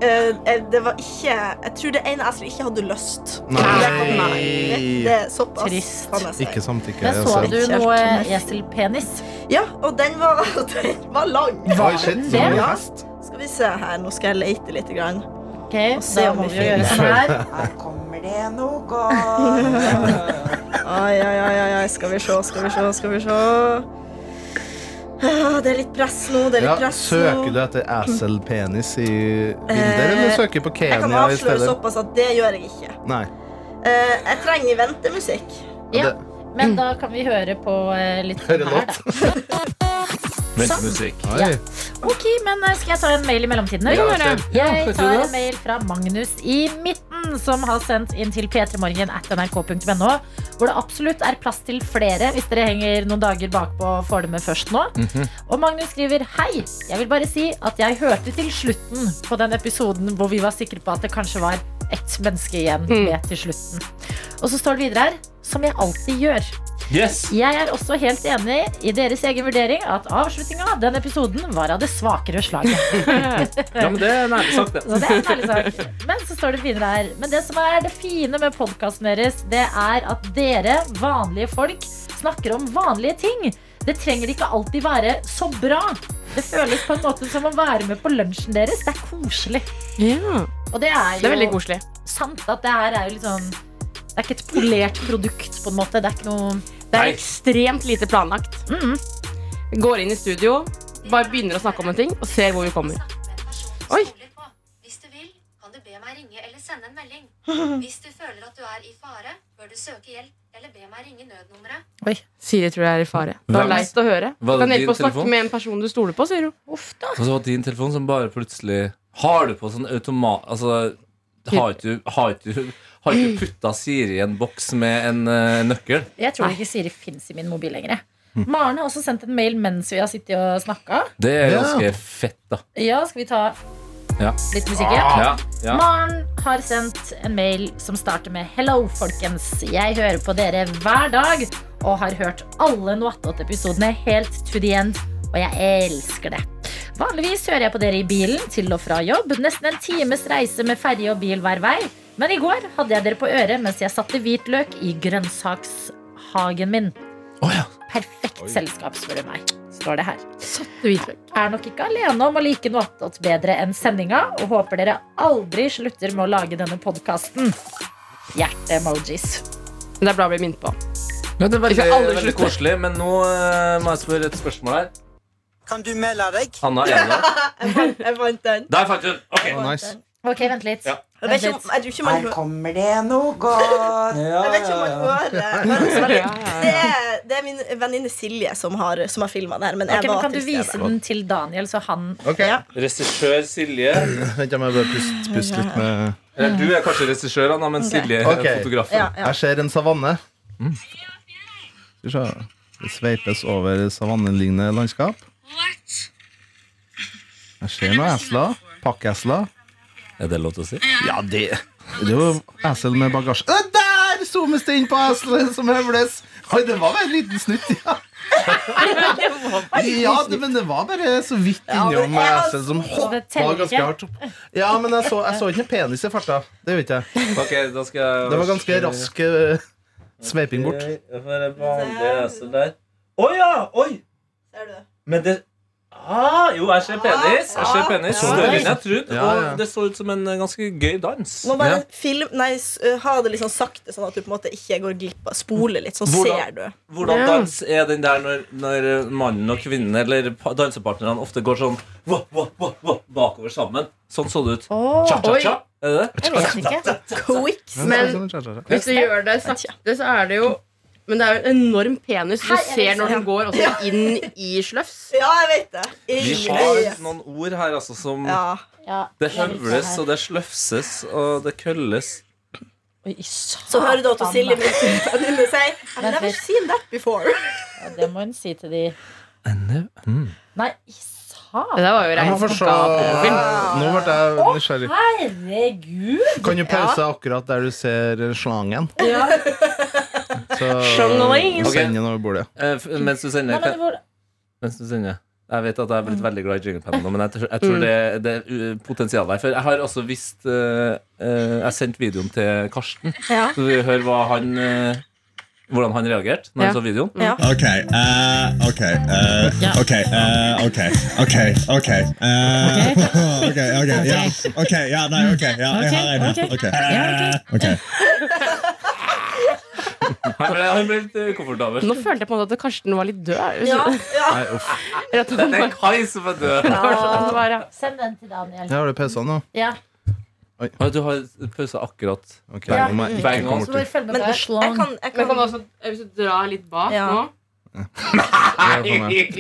C: eh, eh, det var ikke Jeg tror det ene eselet ikke hadde lyst.
F: Nei.
C: Det, kan- nei. Det, det er såpass.
D: Trist.
C: kan jeg si.
F: Ikke samtykke.
D: Men så
F: altså.
D: du noe eselpenis?
C: Ja, og den var, den var lang.
F: Oi, shit.
D: den
F: så
D: det?
F: mye
C: Ja.
F: hest.
C: Skal vi se her, nå skal jeg leite litt. Grann.
D: Ok,
C: se
D: da
C: om
D: må
C: vi
D: vi jo gjøre
F: finner.
D: sånn her.
H: Her kommer det noe godt.
C: Ai, ai, ai, ai, ai, skal vi se, skal vi se, skal vi se. Ah, Det er litt press nå, det er litt
F: Ja,
C: press nå.
F: søker du etter eselpenis i bilder,
C: Eh,
F: eller søker på
C: Jeg kan
F: Kenya i
C: avsløre
F: stedet?
C: såpass at det gjør jeg ikke.
F: Nei.
C: Eh, jeg trenger ventemusikk.
D: Ja,
F: Det-
D: men da kan vi høre på eh, litt
F: Høre
D: her,
F: låt.
D: da.
E: Vent musikk.
F: Oi.
D: Ok, men eh, skal jeg ta en mail i mellomtiden?
E: Ja,
D: eller?
E: kjør.
D: Jeg
E: kjør
D: tar
E: det.
D: en mail fra Magnus i midten, som har sendt inn til p3morgen at nrk.no, hvor det absolutt er plass til flere hvis dere henger noen dager bakpå og får det med først nå. Og Magnus skriver Hei, jeg vil bare si at jeg hørte til slutten på den episoden hvor vi var sikre på at det kanskje var ett menneske igjen
E: Mhm.
D: med til slutten. Og så står det videre her, som jeg alltid gjør.
E: Yes!
D: Jeg er også helt enig i deres egen vurdering at avslutninga av den episoden var av det svakere slaget.
E: Ja, men det er nærmest sagt, det.
D: Så det er en ærlig sak. Men så står det finere her. Men det som er det fine med podkasten deres, det er at dere, vanlige folk, snakker om vanlige ting. Det trenger ikke alltid være så bra. Det føles på en måte som å være med på lunsjen deres. Det er koselig.
B: Ja,
D: Og det er jo
B: det er veldig koselig.
D: sant at det her er jo litt sånn Det er ikke et polert produkt, på en måte. Det er ikke noe
B: Det
E: Nei.
B: er ekstremt lite planlagt.
E: Mm-hmm.
B: Går inn i studio, bare begynner å snakke om en ting, og ser hvor vi kommer. Oi.
I: Hvis du vil, kan du be meg ringe eller sende en melding. Hvis du føler at du er i fare, bør du søke hjelp eller be meg ringe nødnummeret.
B: Siri tror jeg er i fare. Det var
E: Hvem?
B: leit å høre. Du
E: Var det
B: kan hjelpe
E: din
B: å snakke
E: telefon?
B: med en person du stoler på, sier hun.
D: Uff da.
E: Og så var det din telefon som bare plutselig Har du på sånn automat Altså, har ikke du Har ikke du har ikke du putta Siri i en boks med en eh, nøkkel?
D: Jeg tror ikke Siri fins i min mobil lenger. Maren har også sendt en mail mens vi har sittet og snakka.
E: Det er
F: Ja.
E: ganske fett, da.
D: Ja, skal vi ta
E: Ja. Ah.
D: litt musikk? Ja?
E: Ja, ja.
D: Maren har sendt en mail som starter med Hello, folkens. Jeg hører på dere hver dag og har hørt alle Noatot-episodene helt to the end, og jeg elsker det. Vanligvis hører jeg på dere i bilen til og fra jobb. Nesten en times reise med ferje og bil hver vei. Men i går hadde jeg dere på øret mens jeg satte hvitløk i grønnsakshagen min.
E: Å ja.
D: Perfekt selskap, spør du meg. Står det her
B: Du vet vel.
D: er nok ikke alene om å like noe attåt bedre enn sendinga, og håper dere aldri slutter med å lage denne podkasten. Hjerte-emojis.
B: Men det er bra å bli minnet på.
E: Men det er veldig,
B: Jeg skal aldri
E: veldig
B: slutte.
E: koselig, men nå eh, må jeg spørre et spørsmål her.
H: Kan du melde deg?
E: Anna Eneland.
C: Jeg vant, jeg vant den.
E: Der fant du den! Ok.
C: Jeg vant
F: Nice.
C: den.
D: Ok, vent litt.
E: Ja.
C: Jeg vet ikke om, jeg tror ikke man,
H: Her kommer det noe godt.
C: jeg vet ikke om man hører hører så veldig. sånn- Det er, det er min venninne Silje som har, som har filma det her, men jeg
D: Ok, men
C: var
D: kan du
C: til
D: vise
C: stede.
D: den til Daniel, så han
F: Ok,
C: Ja.
E: Regissør Silje.
F: vent, jeg må bare puste, puste litt med
E: Eller du er kanskje regissør, Anna, men Silje er
F: Ok.
E: fotografen.
C: Ja, ja.
F: Jeg ser en savanne. Skal vi se. Det sveipes over savannelignende landskap. Jeg ser noen esler. Pakkesler.
E: Er det lov til å si?
F: Ja, det Det er jo esel med bagasje Det Der zoomes det inn på eselet som høvles! Oi, det var bare en liten snutt, ja. Ja, det, men det var bare så vidt innom
C: men jeg-
F: esel som hoppa
D: Det teller
F: ganske
D: ikke.
F: hardt opp. Ja, men jeg så, jeg så ikke noen penis i farta. Det gjorde ikke jeg.
E: Ok, da skal jeg
F: Det var ganske rask eh, sveiping bort.
E: Vanlig esel der. Å ja! Oi!
C: Ser du?
E: Men det ah, Jo, jeg ser penis. Jeg ser penis
F: Ja.
E: Større enn jeg trodde.
F: Ja, ja.
E: Og det så ut som en eh, ganske gøy dans.
C: Må bare film, nei, s- ha det litt sånn sakte, sånn at du på en måte ikke går glipp av Spole litt, så
E: Hvordan-
C: ser du.
E: Hvordan
B: Ja.
E: dans er den der når, når eh, mannen og kvinnen eller pa- dansepartnerne ofte går sånn wah, wah, wah, wah, bakover sammen? Sånn så det ut. Cha-cha-cha. Er det det?
D: Jeg vet ikke.
C: Quicks.
B: Men- Hvis du gjør det sakte, så er det jo Men det er jo en enorm penis du ser når den går også inn i sløfs.
C: Ja, jeg vet det.
E: Vi
C: I-
E: har noen ord her altså som
C: ja.
D: Ja.
E: Det høvles, og det sløfses, og det køller.
D: Oi, satan.
C: Så hører du at Silje min venninne sier I've never seen that before.
D: Ja, det må hun si til de
E: Mm.
D: Nei, i satan. Jaha.
B: Det der var jo
F: Jeg må få se.
B: regnskapsfilm.
F: Nå ble jeg nysgjerrig.
D: Herregud!
F: Kan du pause akkurat der du ser slangen?
D: Ja.
F: Så
B: Slangen.
F: send den over bordet.
E: Eh, f- mens du sender
D: Nei, men
E: kan,
D: hvor,
E: mens du sender Jeg vet at jeg har blitt veldig glad i jinglepad nå, men jeg, tr- jeg tror det, det er uh, potensialet her. For jeg har også visst eh, eh, Jeg sendte videoen til Karsten,
C: Ja.
E: så vi hører hva han eh, hvordan han reagerte når
B: Ja.
E: han så videoen.
C: Ja.
J: Okay, uh, okay, uh, okay, uh, okay, okay, okay, uh, okay, okay, ja, okay, ja, nei, okay, ja, jeg har en her, okay, okay.
E: Han ble, han ble litt eh, komfortabel.
B: Nå følte jeg på en måte at Karsten var litt død.
C: Ja, ja.
E: Nei, uff.
B: Rett og
E: Det
B: slett
E: er Kai som er død.
B: sånn det var, ja.
D: send den til Daniel.
F: Jeg har det pause nå.
D: Ja.
E: Å, Du har pausa akkurat.
F: Ok,
D: Ja.
F: nå må jeg
E: Bang
F: ikke
E: on.
F: komme
D: Så bare
F: til.
D: følg med
C: Men
D: på
C: jeg
D: Slong.
C: kan, jeg
B: Men kan du
C: kan
B: også, hvis du drar litt bak
C: Ja.
B: nå
F: Det er for meg.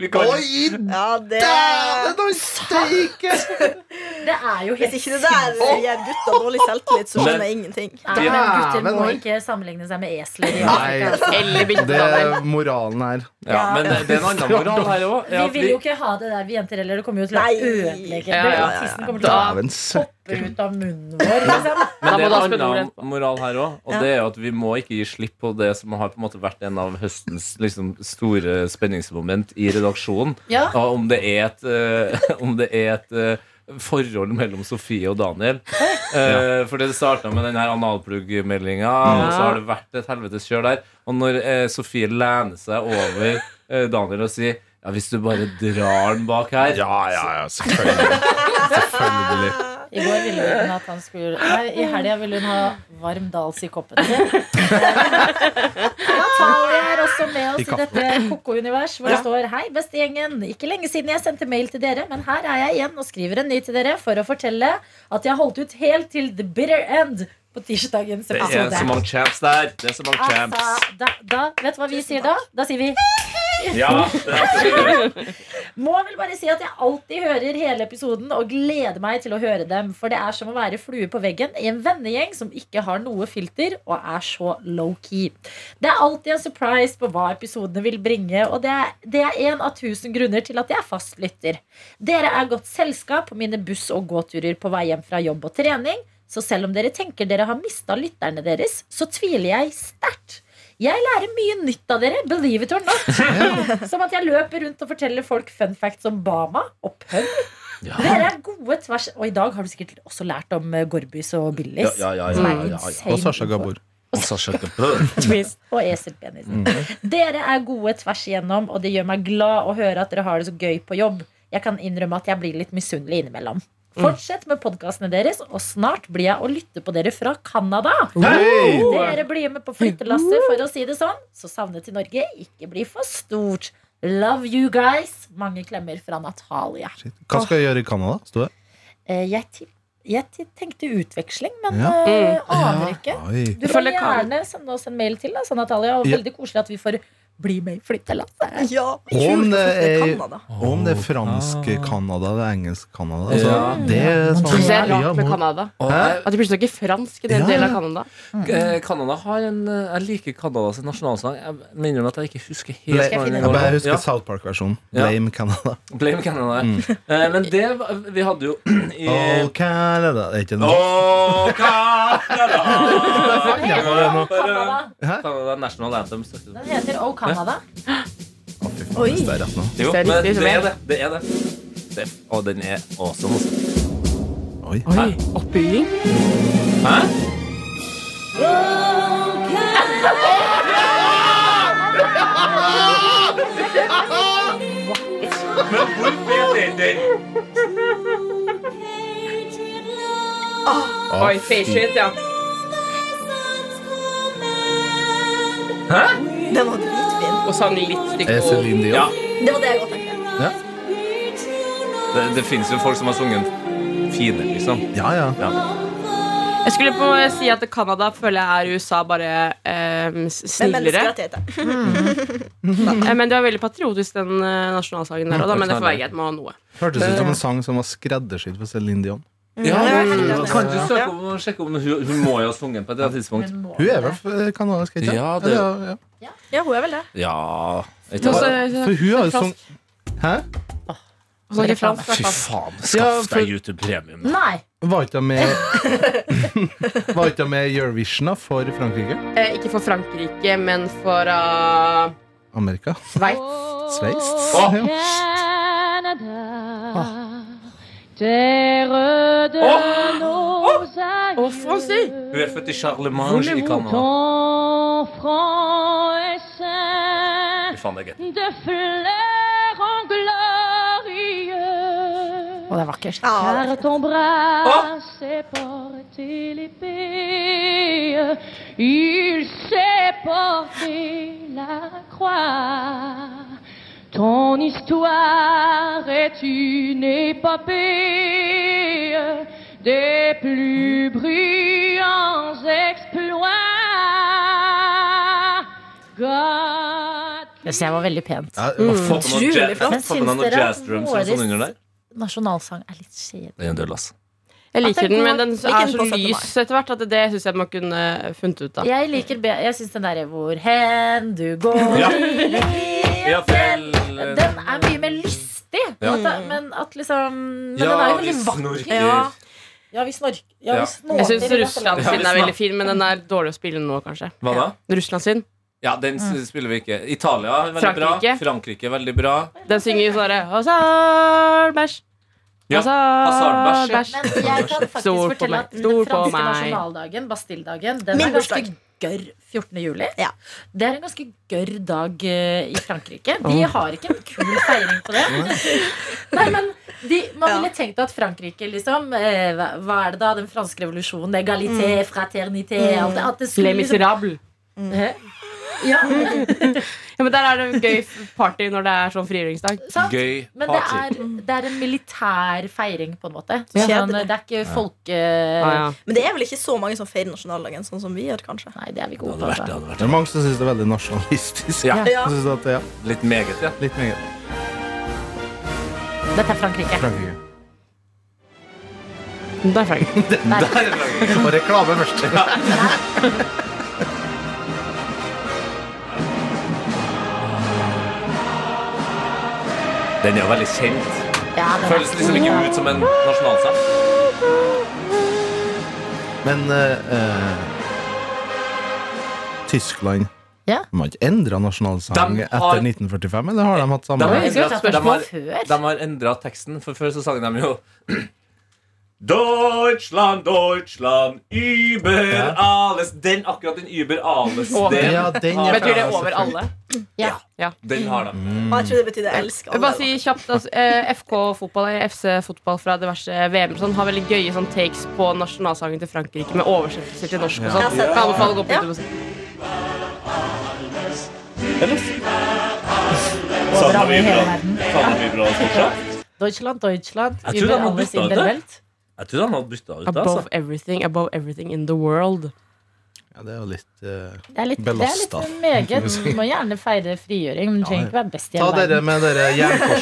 E: Vi kan,
F: Oi,
C: Ja, det
F: dæven og steike!
D: Det er jo
C: Hvis
D: helt
C: ikke det der gir gutta dårlig selvtillit, så skjønner jeg ingenting.
D: Nei, men gutter må
F: Dæven, oi.
D: ikke sammenligne seg med esler. i Afrika, altså.
F: Nei,
B: Eller
F: det
B: bildet.
F: er moralen her.
E: ja, men uh, det, det er en annen moral her òg.
D: Vi vil jo ikke ha det der, vi jenter heller. Det kommer jo til å
C: Nei.
D: ødelegge.
B: Ja, ja, ja,
C: ja.
D: Tissen kommer til å
F: Dæven søkk.
D: poppe ut av munnen vår. Liksom.
E: Men
B: Da
E: det
B: må du ha
E: er en annen
B: spilleordet
E: moral her òg, og
C: Ja.
E: det er jo at vi må ikke gi slipp på det som har på en måte vært en av høstens liksom, store spenningsmoment i redaksjonen.
D: Ja.
E: Og om det er et, eh, om det er et eh, forhold mellom Sofie og Daniel. Eh, for det starta med den her analplugg-meldinga, og så har det vært et helvetes kjør der. Og når eh, Sofie lener seg over eh, Daniel og sier ja, Hvis du bare drar den bak her
F: Ja, ja, ja, selvfølgelig. Selvfølgelig.
D: I går ville hun at han skulle Nei, i helga ville hun ha varm dals i koppen sin. Natalie er også med
F: I
D: oss i
F: kaffen.
D: dette koko-univers, hvor det står Hei, bestegjengen. Ikke lenge siden jeg sendte mail til dere, men her er jeg igjen og skriver en ny til dere for å fortelle at jeg holdt ut helt til the bitter end på tirsdagens
E: Det er så
D: episode.
E: mange champs der! Det er så mange champs.
D: Altså, da, da, vet du hva vi sier da? Da sier vi
E: Ja, det er absolutt.
D: Må vel bare si at jeg alltid hører hele episoden og gleder meg til å høre dem. For det er som å være flue på veggen i en vennegjeng som ikke har noe filter og er så low-key. Det er alltid en surprise på hva episodene vil bringe, og det er, det er en av tusen grunner til at jeg er fast lytter. Dere er godt selskap på mine buss- og gåturer på vei hjem fra jobb og trening, så selv om dere tenker dere har mista lytterne deres, så tviler jeg sterkt. Jeg lærer mye nytt av dere, believe it or not. Som at jeg løper rundt og forteller folk fun facts om Bama og pønn. Dere er gode tvers Og i dag har du sikkert også lært om eh, Gorbys og Billys.
E: Ja, ja, ja,
D: som er
E: ja, ja, ja.
D: insane
F: Og Sasha Gabor.
D: og eselpenis.
F: Mm.
D: Dere er gode tvers igjennom, og det gjør meg glad å høre at dere har det så gøy på jobb. Jeg kan innrømme at jeg blir litt misunnelig innimellom.
F: Mm.
D: Fortsett med podkastene deres, og snart blir jeg å lytte på dere fra Canada.
F: Hei!
D: Dere blir med på flyttelasset, for å si det sånn. Så savnet til Norge ikke blir for stort. Love you guys. Mange klemmer fra Natalia.
F: Hva skal jeg gjøre i Canada? Sto det?
D: Eh, Jeg, til- jeg til- tenkte utveksling, men
F: Ja.
D: eh, aner ikke.
F: Oi.
D: Du kan
B: Følger Karen.
D: gjerne sende oss en mail til, da, så Natalia. Og
F: Ja.
D: veldig koselig at vi får bli med i flyttelasset.
C: Ja,
F: Om
C: kult
F: det
C: at det
F: er-
E: eh,
C: kan man da.
F: Om det er fransk Canada eller engelsk Canada altså,
E: Ah. Ja.
F: Det er
B: Det
F: sånn
B: er rart med
F: Ja, må-
B: Canada.
E: Hæ?
B: At de plutselig snakker fransk i den
F: Ja.
B: delen av Canada.
E: Eh, Canada har en eh, Jeg liker Canadas nasjonalsang. Jeg minner om at jeg ikke husker
F: Bla-
E: helt
D: jeg finne
E: den
D: den?
E: går.
F: Bare Jeg husker Mm.
E: Ja,
F: South Park-versjonen.
E: Ja.
F: Blame Canada.
E: Blame Canada. Eh, men det var- Vi hadde jo i
F: Oh, Canada Det er ikke noe
E: Åh,
D: Den heter
E: Canada!
D: O Canada.
E: Canada National Anthem. støtter du?
D: Den heter O Canada.
C: Oi.
F: Det er rett nå.
E: Jo,
B: Det er
E: men
B: riktig,
E: det
B: som
E: er
B: jeg.
E: det. Det er det. det. Og den er awesome. altså.
F: Oi.
B: Oi, oppbygging.
E: Hæ? Men hvorfor er den den?
B: Oi, face shit, ja.
C: Den var dritfin.
B: Og sang litt
F: Er det
B: stygt. og-
F: Celine
E: Ja,
F: Dion?
C: Det var det jeg godt tenkte.
E: det, det finnes jo folk som har sunget fine, liksom.
F: Ja, ja.
B: Jeg skulle på å si at Canada føler jeg er USA bare eh, s-
C: Men
B: snillere.
C: menneskerettigheter.
B: Eh, Men det var veldig patriotisk, den eh, nasjonalsangen der. Og da, men det får være greit med å ha noe.
F: Hørtes ut som en sang som var skreddersydd for Celine Dion.
E: Ja,
C: det er
E: men
C: veldig
E: kan
C: bra.
E: du
D: altså.
E: søke om, sjekke om hun, hun må jo ha sunget på et eller annet tidspunkt?
D: Hun må
F: Hun er
D: det.
F: vel f- kanadisk, ikke
E: Ja, det-
F: Eller, ja, ja.
C: Ja, hun er vel det.
E: Ja ikke
B: Så-
E: sant?
B: så-
F: For hun har jo
B: fransk.
F: sunget Hæ?
B: Hun snakker fransk, i
E: Fy
B: hvert fall.
E: faen,
F: Ja,
E: skaff
F: for-
E: deg YouTube-premium.
D: Nei.
F: Var ikke de med Var ikke de med i Eurovision da, for Frankrike?
B: Eh, ikke for Frankrike, men for uh,
F: Amerika?
B: Sveits.
F: Sveits?
B: Åh.
F: Ja.
B: Og Fransi!
E: Hun er født i Charlemagne i Canada. Fy faen, det er gøy.
D: Og det er vakkert.
C: Ja,
D: Det synes jeg var veldig pent.
F: Ja, det var
E: Få på noe
C: Utrolig
E: jazz-
C: flott.
E: få på noe
D: Syns dere
E: jazz drums og
D: våres-
E: sånn under der.
D: Nasjonalsang er litt kjedelig.
E: Det er en del, ass.
B: Jeg liker den, men den
C: Liker
B: er
C: den
B: så
C: på 17. mai.
B: lys etter hvert at det syns jeg man kunne funnet ut av.
D: Jeg liker be Jeg syns den derre 'Hvor hen du går'
E: Ja.
D: ja.
E: Ja, vel,
D: Den er mye mer lystig.
E: Ja.
D: At, det- men at liksom Men
E: Ja,
D: den er jo
E: vi
D: veldig vakker.
E: snorker.
D: Ja. Ja, vi snorker. Ja, vi
E: Ja.
B: Jeg
D: snorker i
B: syns
D: dette
B: Russland
D: landet.
B: sin er veldig fin, men den er dårlig å spille nå, kanskje.
E: Hva da?
B: Russland sin.
E: Ja, den s-
D: Mm.
E: spiller vi ikke. Italia er veldig bra.
B: Frankrike.
E: Frankrike er veldig bra.
B: Den synger jo sånn Hazardbæsj.
E: Ja, hasardbæsj, ja.
D: Men jeg kan faktisk
B: Stol på
D: fortelle
B: meg.
D: at den
B: Stol på
D: franske
B: meg.
D: nasjonaldagen, Bastilledagen, den
C: Min
D: er ganske
C: bursdag.
D: gørr 14. juli.
C: Ja.
D: Det er en ganske gørr dag eh, i Frankrike. De har ikke en kul feiring på det. Nei, men de, Man
C: Ja.
D: ville tenkt at Frankrike, liksom eh, hva- Hva er det da? Den franske revolusjonen,
C: Mm.
D: egalité, fraternité alt det, at det
B: Les
D: skulle liksom,
B: Miserables.
D: Hæ? ja,
B: Ja, men der er det gøy party når det er sånn frigjøringsdag.
D: sant?
E: Gøy
D: Men det
E: party.
D: er, det er en militær feiring, på en måte.
C: Ja.
D: Sånn, det er ikke eh, folke...
B: Ah, ja.
C: Men det er vel ikke så mange som feirer nasjonaldagen, sånn som vi gjør, kanskje.
D: Nei, det er vi
E: Det
D: gode
E: hadde
D: på.
E: vært det.
D: altså.
E: hadde vært
F: Det er mange som syns det er veldig nasjonalistisk.
E: Ja.
F: Jeg synes at, det- ja,
E: det. Litt meget, ja.
F: litt meget.
D: Dette er Frankrike.
F: Frankrike.
B: Der er jeg.
F: Og reklame først.
E: Den er jo veldig kjent.
D: Ja, den er
E: Føles liksom ikke ut som en nasjonalsang.
F: Men eh, eh, Tyskland
D: Ja.
F: De har ikke endra nasjonalsang
E: De har-
F: etter 1945, eller har de hatt samme?
E: De har
D: Det er jo et
E: endret- de
D: spørsmål
E: har-
D: før.
E: De har endra teksten, for før så sang de jo Deutschland, Deutschland, über
F: Ja.
E: alles Den, akkurat den über alles
B: Over.
E: den,
F: Ja, den er
E: har-
B: Betyr det over alle?
E: Den har de.
C: Og jeg tror det betydde 'elsk
B: Jeg vil bare si
C: alle'.
B: kjapt at eh, FK-fotball eller FC-fotball fra diverse VM og sånn, har veldig gøye sånn, takes på nasjonalsangen til Frankrike med oversettelser til norsk og sånn.
C: Ja.
B: Jeg anbefaler å gå på
C: Ja.
B: YouTube og se.
D: Over alle i hele verden.
E: Faen, det blir bra fortsatt.
D: Deutschland, Deutschland.
E: Jeg tror
D: Über
E: den må
D: alles
E: bytte
D: in der
E: ut,
D: Welt.
E: Jeg tror han hadde bytta ut, altså.
B: Above everything, above everything in the world.
F: Ja, det er jo litt eh,
D: Det er litt, det er litt
F: Belasta.
D: meget. Du må gjerne feire frigjøring, men du trenger ikke være best i
F: Ta
D: hele
F: dere
D: verden.
F: med dere jernkors.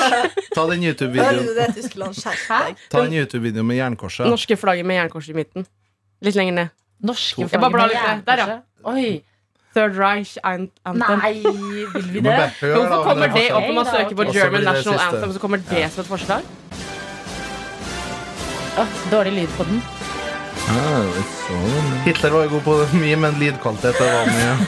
F: Ta
C: Hører
F: den
C: du
F: YouTube-videoen
C: det, Tyskland? Skjerp deg.
F: Ta en YouTube-video med jernkorset.
B: Norske flagget med jernkorset i midten. Litt lenger ned.
D: Norske
B: Jeg bare blar
D: flagg med
B: litt ned. Der, ja.
D: jernkorset. Oi.
B: Third Reich an- Anthem.
D: Nei, vil vi
F: Du
D: det?
F: må bare høre, da,
B: Hvorfor
F: om
B: kommer
F: er
B: det
F: fortsatt-
B: opp når man
D: Nei, da,
B: søker på
F: ok.
B: German
F: Og så blir det
B: National
F: siste.
B: Anthem? Så kommer det som et forslag?
D: Åh, dårlig lyd på den.
F: Hitler var jo god på mye, men lydkvalitet det var mye. Nei,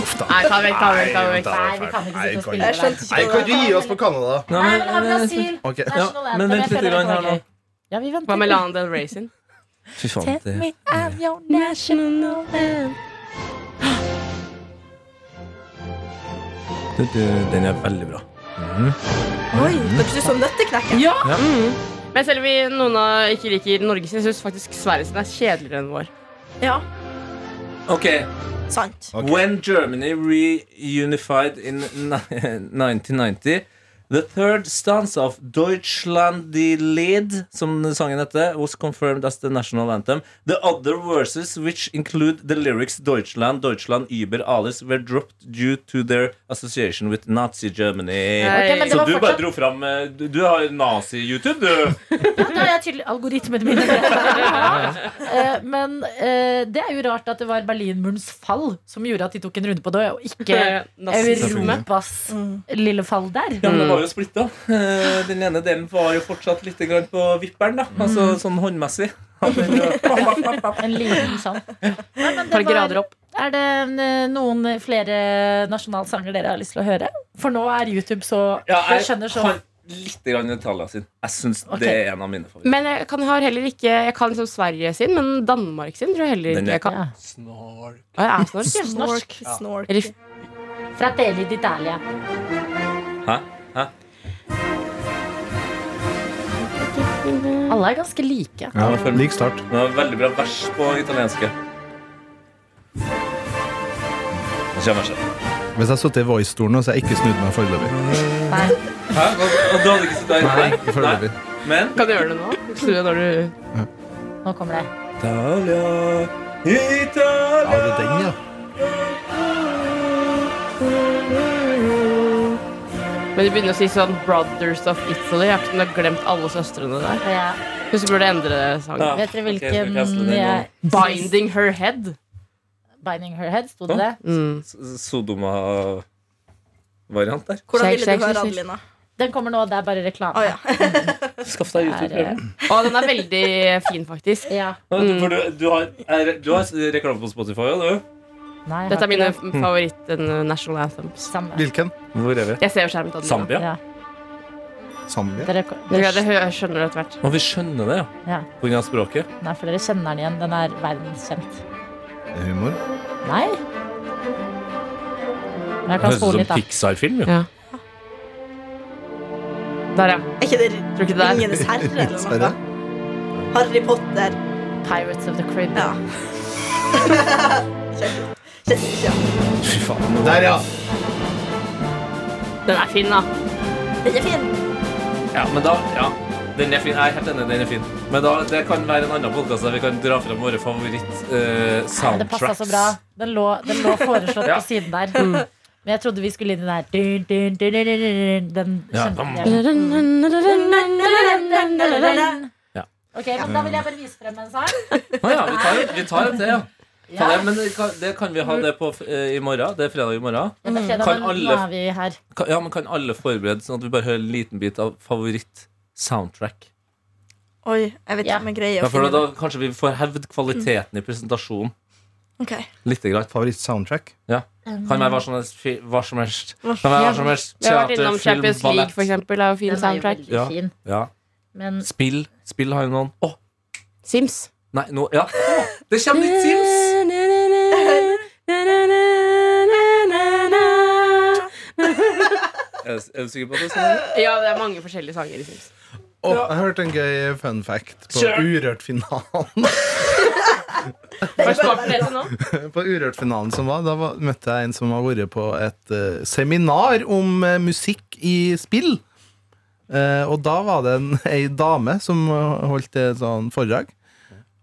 F: uff da.
B: Nei, ta det vekk, ta det vekk. ta det vekk
D: Nei, vi kan ikke sitte og spille
C: Jeg skjønte
D: der.
F: Nei,
C: ikke hva
F: kan du
C: det var.
F: gi oss på Canada?
E: Nei,
D: Nei,
E: men-
D: men det er Brasil.
F: Ok.
E: Ja,
D: National anthem.
E: men
D: Jeg
E: vent litt
D: føler det
E: grann
D: kan
E: her
D: være
E: nå.
D: gøy. Ja, vi venter.
B: Hva med Lana Del Rey sin?
E: Fy faen,
D: Tell
E: det
D: me I'm your national anthem.
E: Du, du, Den er veldig bra.
C: Oi, Hørtes ut som Nøtteknekkeren.
D: Ja!
B: Mm. Men selv om vi noen av ikke liker Norge sin, syns faktisk Sverige sin er kjedeligere enn vår.
C: Ja,
E: Ok,
C: sant.
F: Ok.
E: When Germany reunified in ni- 1990 The third stanza of Deutschland die Lied, som sangen heter, was confirmed as the national anthem. The other verses, which include the lyrics Deutschland, Deutschland, über alles, were dropped due to their association with Nazi Germany.
B: Ok, men
D: det
E: Så
D: var
E: du bare
D: fortsatt-
E: dro fram eh, Du, du har nazi-YouTube, du!
D: Da er jeg tydelig algoritmene mine. Eh, Men eh, det er jo rart at det var Berlinmurens fall som gjorde at de tok en runde på det, og ikke
B: Nazisme.
D: Mm. Europas lille fall der.
E: Ja, men det var var jo splitta. Den ene delen var jo fortsatt litt grann på vipperen, da. Altså sånn håndmessig.
D: En liten sånn. Nei, men det
B: Par grader
D: var- Er det eh, noen flere nasjonalsanger dere har lyst til å høre? For nå er YouTube så
E: Ja,
D: Jeg
E: jeg
D: skjønner så
E: har litt grann detaljer sin. Jeg syns
D: Ok.
E: det er en av mine favoritter.
B: Men jeg kan har heller ikke Jeg kan som Sverige sin, men Danmark sin tror jeg heller
E: Den
B: ikke
E: er-
B: jeg kan.
D: Ja.
E: Snork.
B: Å, jeg er snork, jeg.
D: Snork.
C: Snork.
B: Eller f-
D: Fratelli d'Italia.
E: Hæ? Hæ?
D: Alle er ganske like.
E: Ja, jeg føler-
F: Lik start.
E: Det var veldig bra vers på italienske. Det kommer seg.
F: Hvis jeg satt i voice-stolen nå, så har jeg ikke snudd meg foreløpig.
D: Nei.
E: Hæ? Og, og du hadde ikke sittet der?
F: Nei, ikke
E: Nei.
F: foreløpig.
E: Men
B: Kan du gjøre det nå? Snu deg når du
D: Nå kommer det.
E: Italia,
F: Ja, det er
E: Italia
F: den, ja.
B: Men du begynner å si sånn Brothers of Italy. Jeg har ikke om du har glemt alle søstrene der.
D: Og jeg,
B: Hun burde endre sangen.
E: Ja.
D: vet dere
E: Ok, jeg skal
D: hvilken
E: kaste den
D: jeg,
B: Binding her head.
D: Binding her head, sto det det?
B: Mm.
E: S- Sodoma-variant der.
C: Hvordan
B: Shake,
C: ville
B: shake,
C: du høre,
B: shake,
C: Adelina?
D: Den kommer nå, det er bare reklame.
C: Å ja.
E: Skaff deg
D: Det er,
E: YouTube-prøve.
B: Og den er veldig fin, faktisk.
D: Ja.
E: Du, for
D: Mm.
E: du, du, har, er, du har reklame på Spotify, ja, du?
D: Nei, jeg
B: Dette
D: har
B: er mine
D: ikke
B: favoritt-national anthems.
D: det samme.
F: Hvilken?
E: Hvor er vi?
B: eh, Jeg ser jo skjermen til Adelina.
E: Zambia?
D: Ja.
F: Zambia?
D: Dere,
B: Dere, dere hø- skjønner det etter hvert.
E: Og vi skjønner det, ja.
D: Ja.
E: På grunn av språket.
D: nei, for dere kjenner den igjen. Den er verdenskjent.
F: Er det Humor?
D: Nei? Men Jeg kan
E: Høres ut
D: spole
E: som
D: litt, da.
E: Pixar-film, jo.
B: Ja. Der, ja.
C: Er ikke det
B: Tror ikke det er
C: Ringenes herre eller noe? Harry Potter.
D: Pirates of the Crib.
C: Ja. Kjent, ja.
E: Fy faen. nå-
F: Der, ja.
B: Den er fin, da.
C: Den er fin.
E: Ja, men da Ja. Den er fin. Jeg er helt enig, den er fin. Men da, det kan være en annen podkast der vi kan dra fram våre
D: Det
E: eh,
D: passa
E: favoritt-soundtracks.
D: så bra. Den lå, den lå foreslått
E: Ja. Mm.
D: på siden der. Men jeg trodde vi skulle inn i den her dun, dun, dun, dun, dun, dun, Den
E: Ja.
D: kjente jeg.
E: Ja.
D: Ok, men Da vil jeg bare vise frem en sang.
E: Å ja, vi tar, vi tar en til, ja. Ta det, men det kan, det kan vi
D: Mm.
E: ha det på eh, i morgen. Det er fredag i morgen.
D: Ja, det er fredag,
E: Mm. Kan
D: men
E: alle-
D: Nå er vi her.
E: Kan, ja, men kan alle forberede sånn at vi bare hører en liten bit av favoritt-soundtrack?
C: Oi, jeg vet
D: Ja.
C: ikke om jeg greier
E: Ja,
C: å
E: for da,
C: finne
E: da kanskje vi får hevd kvaliteten i presentasjonen
C: Ok.
E: lite grann.
F: Favoritt-soundtrack?
E: Kan være hva som helst. fi- Hva som helst.
C: Hva-
E: Kan være hva som helst.
B: Vi har vært innom
E: Teater, film,
B: Champions League,
E: ballett.
B: for eksempel. Er jo fin
D: Den er jo
B: soundtrack.
D: veldig fin.
E: Ja.
D: Men
E: Spill. Spill har jo noen. Å,
B: Sims.
E: nei, nå Ja! Å, det kommer litt Sims! Er du- er du sikker på at det er sånn?
B: Ja, det er mange forskjellige sanger i Sims.
F: Å, jeg hørte en gøy fun fact på
E: Kjør.
F: Urørt-finalen.
B: Har du svart på det til nå?
F: På Urørt-finalen som var, da var, møtte jeg en som har vært på et eh, seminar om eh, musikk i spill. Eh, og da var det en, ei dame som eh, holdt et sånn foredrag.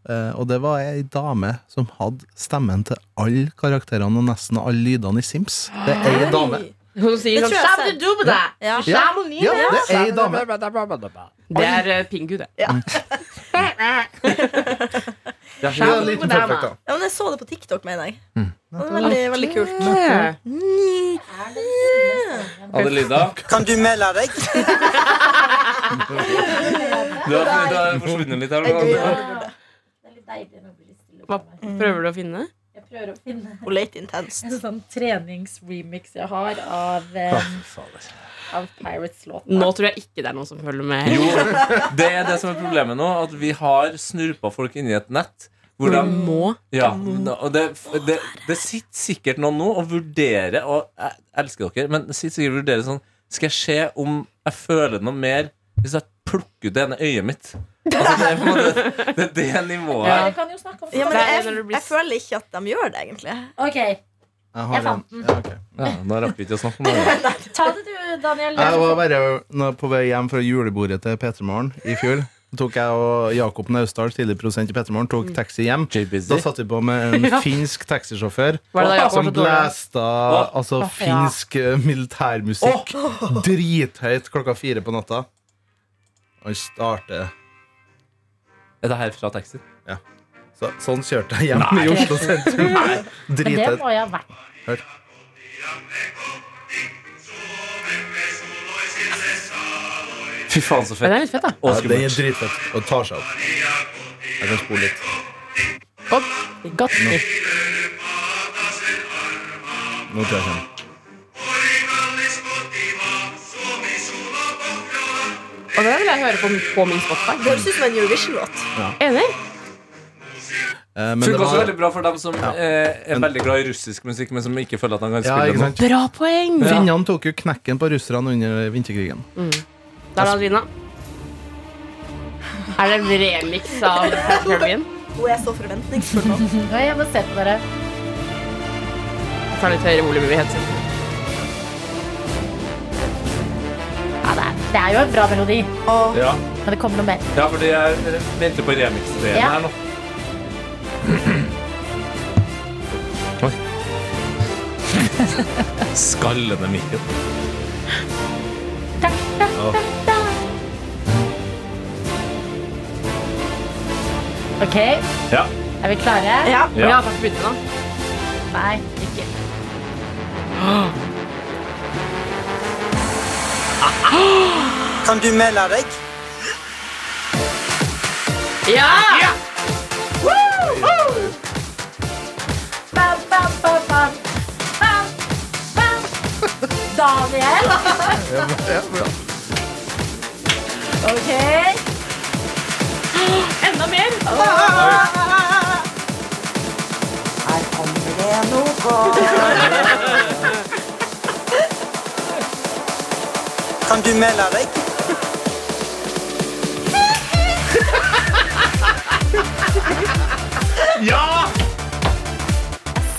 F: Eh, og det var ei dame som hadde stemmen til alle karakterene og nesten alle lydene i Sims. Det er ei dame.
B: Hun sier
C: Det
B: sånn
C: tror jeg
B: Shabba
C: selv.
B: dubba da!
C: Ja.
F: Ja, ja, det er ei dame.
B: Det er eh, Pingu, det.
E: Ja,
F: Det
E: ja.
F: er en liten fun fact, da.
C: Ja, men jeg så det på TikTok, mener jeg. Det var veldig, veldig kult.
E: Adelina,
H: Kan du melde deg?
E: du har, du har forsvunnet litt her. nå.
D: Det er litt deilig når det blir litt stille.
B: Hva
D: på meg.
B: prøver du å finne?
D: Jeg prøver å finne
C: Hun leter intenst.
D: en sånn treningsremix jeg har av, eh, av Pirates-låten.
B: Nå tror jeg ikke det er noen som følger med.
E: Jo, det er det som er problemet nå. At vi har snurpa folk inni et nett. Hvor de
B: må.
E: Ja, og det, det, det sitter sikkert noen nå og vurderer Og jeg elsker dere, men det sitter sikkert og vurderer sånn Skal jeg se om jeg føler noe mer hvis jeg plukker ut det ene øyet mitt? Altså, det, er på en måte, det er det nivået her.
D: Dere kan jo snakke om
C: Ja, men
B: Det er
C: jeg,
B: når du blir-
C: jeg føler ikke at de gjør det, egentlig.
D: Ok,
F: Jeg,
D: Jeg
F: har en.
D: fant den.
F: Ja, ok.
E: Ja, da rakk vi ikke å snakke om det.
D: Ta det du, Daniel.
F: Jeg var bare nå på vei hjem fra julebordet til Petermorgen i fjor. Så tok jeg og Jakob Naustdal, tidligere produsent i Petermorgen, tok taxi hjem. Da
E: J-Busy.
F: satt vi på med en
B: Ja.
F: finsk taxisjåfør
B: Var det da Jakob var så
F: som
B: dårlig?
F: blæsta altså,
D: Åh, ja.
F: finsk eh, militærmusikk drithøyt klokka fire på natta. Og starter
E: Er det her fra taxien?
F: så, Sånn kjørte jeg hjem i Oslo sentrum.
D: Men det
F: Drithøyt.
D: må jeg ha vært.
F: Hør.
E: Fy faen, så fett.
D: Den er litt fett, da.
E: Og
F: Ja, det er
E: skummelt.
F: dritfett. Og tar seg opp. Jeg kan spole litt.
D: Opp. Godt.
F: Nå tror jeg jeg kommer.
B: Og det vil jeg høre på, på min Spotify.
C: Det høres ut som en Eurovision-låt.
B: Enig?
F: Eh, men
E: Funker
F: det
E: også
F: var-
E: veldig bra for dem som eh, er veldig glad i russisk musikk, men som ikke føler at de kan
F: Ja,
E: spille
F: ikke
E: den.
F: sant?
B: Bra poeng!
E: Ja.
F: Finnene tok jo knekken på russerne under vinterkrigen.
B: Der er Adelina. Er det en remix av Caribbean?
C: Hun er så forventningsfull nå.
D: Nei, jeg må se på dere.
B: Ta litt høyere volum i headsetet.
D: Ja, det, er, det er jo en bra melodi,
C: Og
E: Ja.
D: men det kommer noe mer.
E: ja, fordi jeg eh, venter på remix-delen
D: Ja.
E: her nå. Oi. Skallende mikken.
D: Ok, er
E: Ja.
D: vi klare?
C: ja,
B: Ja.
E: ja.
B: faktisk begynte nå.
D: Nei, ikke.
H: Kan du melde deg?
B: Ja!
D: Bam, bam, bam, bam. Bam, bam. Daniel. Ok.
B: Enda mer!
H: Her kommer det noe godt. Kan du melde deg?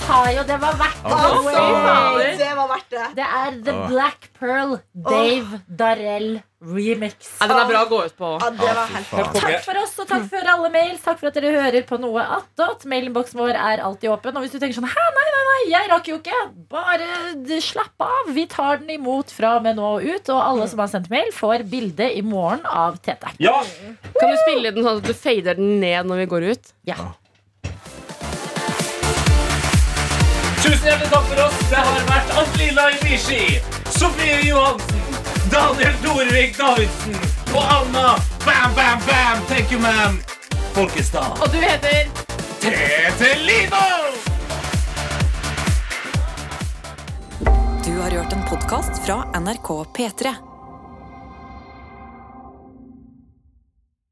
D: Sa jo det var verdt
B: Fy fader.
C: det var verdt det.
D: Det er The Black Pearl Dave Darrell remix.
B: Ja, den er bra å gå ut på.
C: Ja, det var helt
D: Takk for oss, og takk for alle mails. Takk for at dere hører på noe attåt. Mailinnboksen vår er alltid åpen. Og hvis du tenker sånn Hæ, nei, nei, nei, jeg rakk jo ikke. Bare d- slapp av. Vi tar den imot fra og med nå og ut. Og alle som har sendt mail, får bilde i morgen av Tete.
E: Ja!
B: Kan du spille den sånn at du fader den ned når vi går ut?
D: Ja.
E: Tusen hjertelig takk for oss. Det har vært Adelina Ibishi, Sofie Johansen, Daniel Dorvik Davidsen og Anna Bam Bam Bam Thank you, man. Folkestad.
B: Og du heter
E: Tete Lidbom!
A: Du har hørt en podkast fra NRK P3.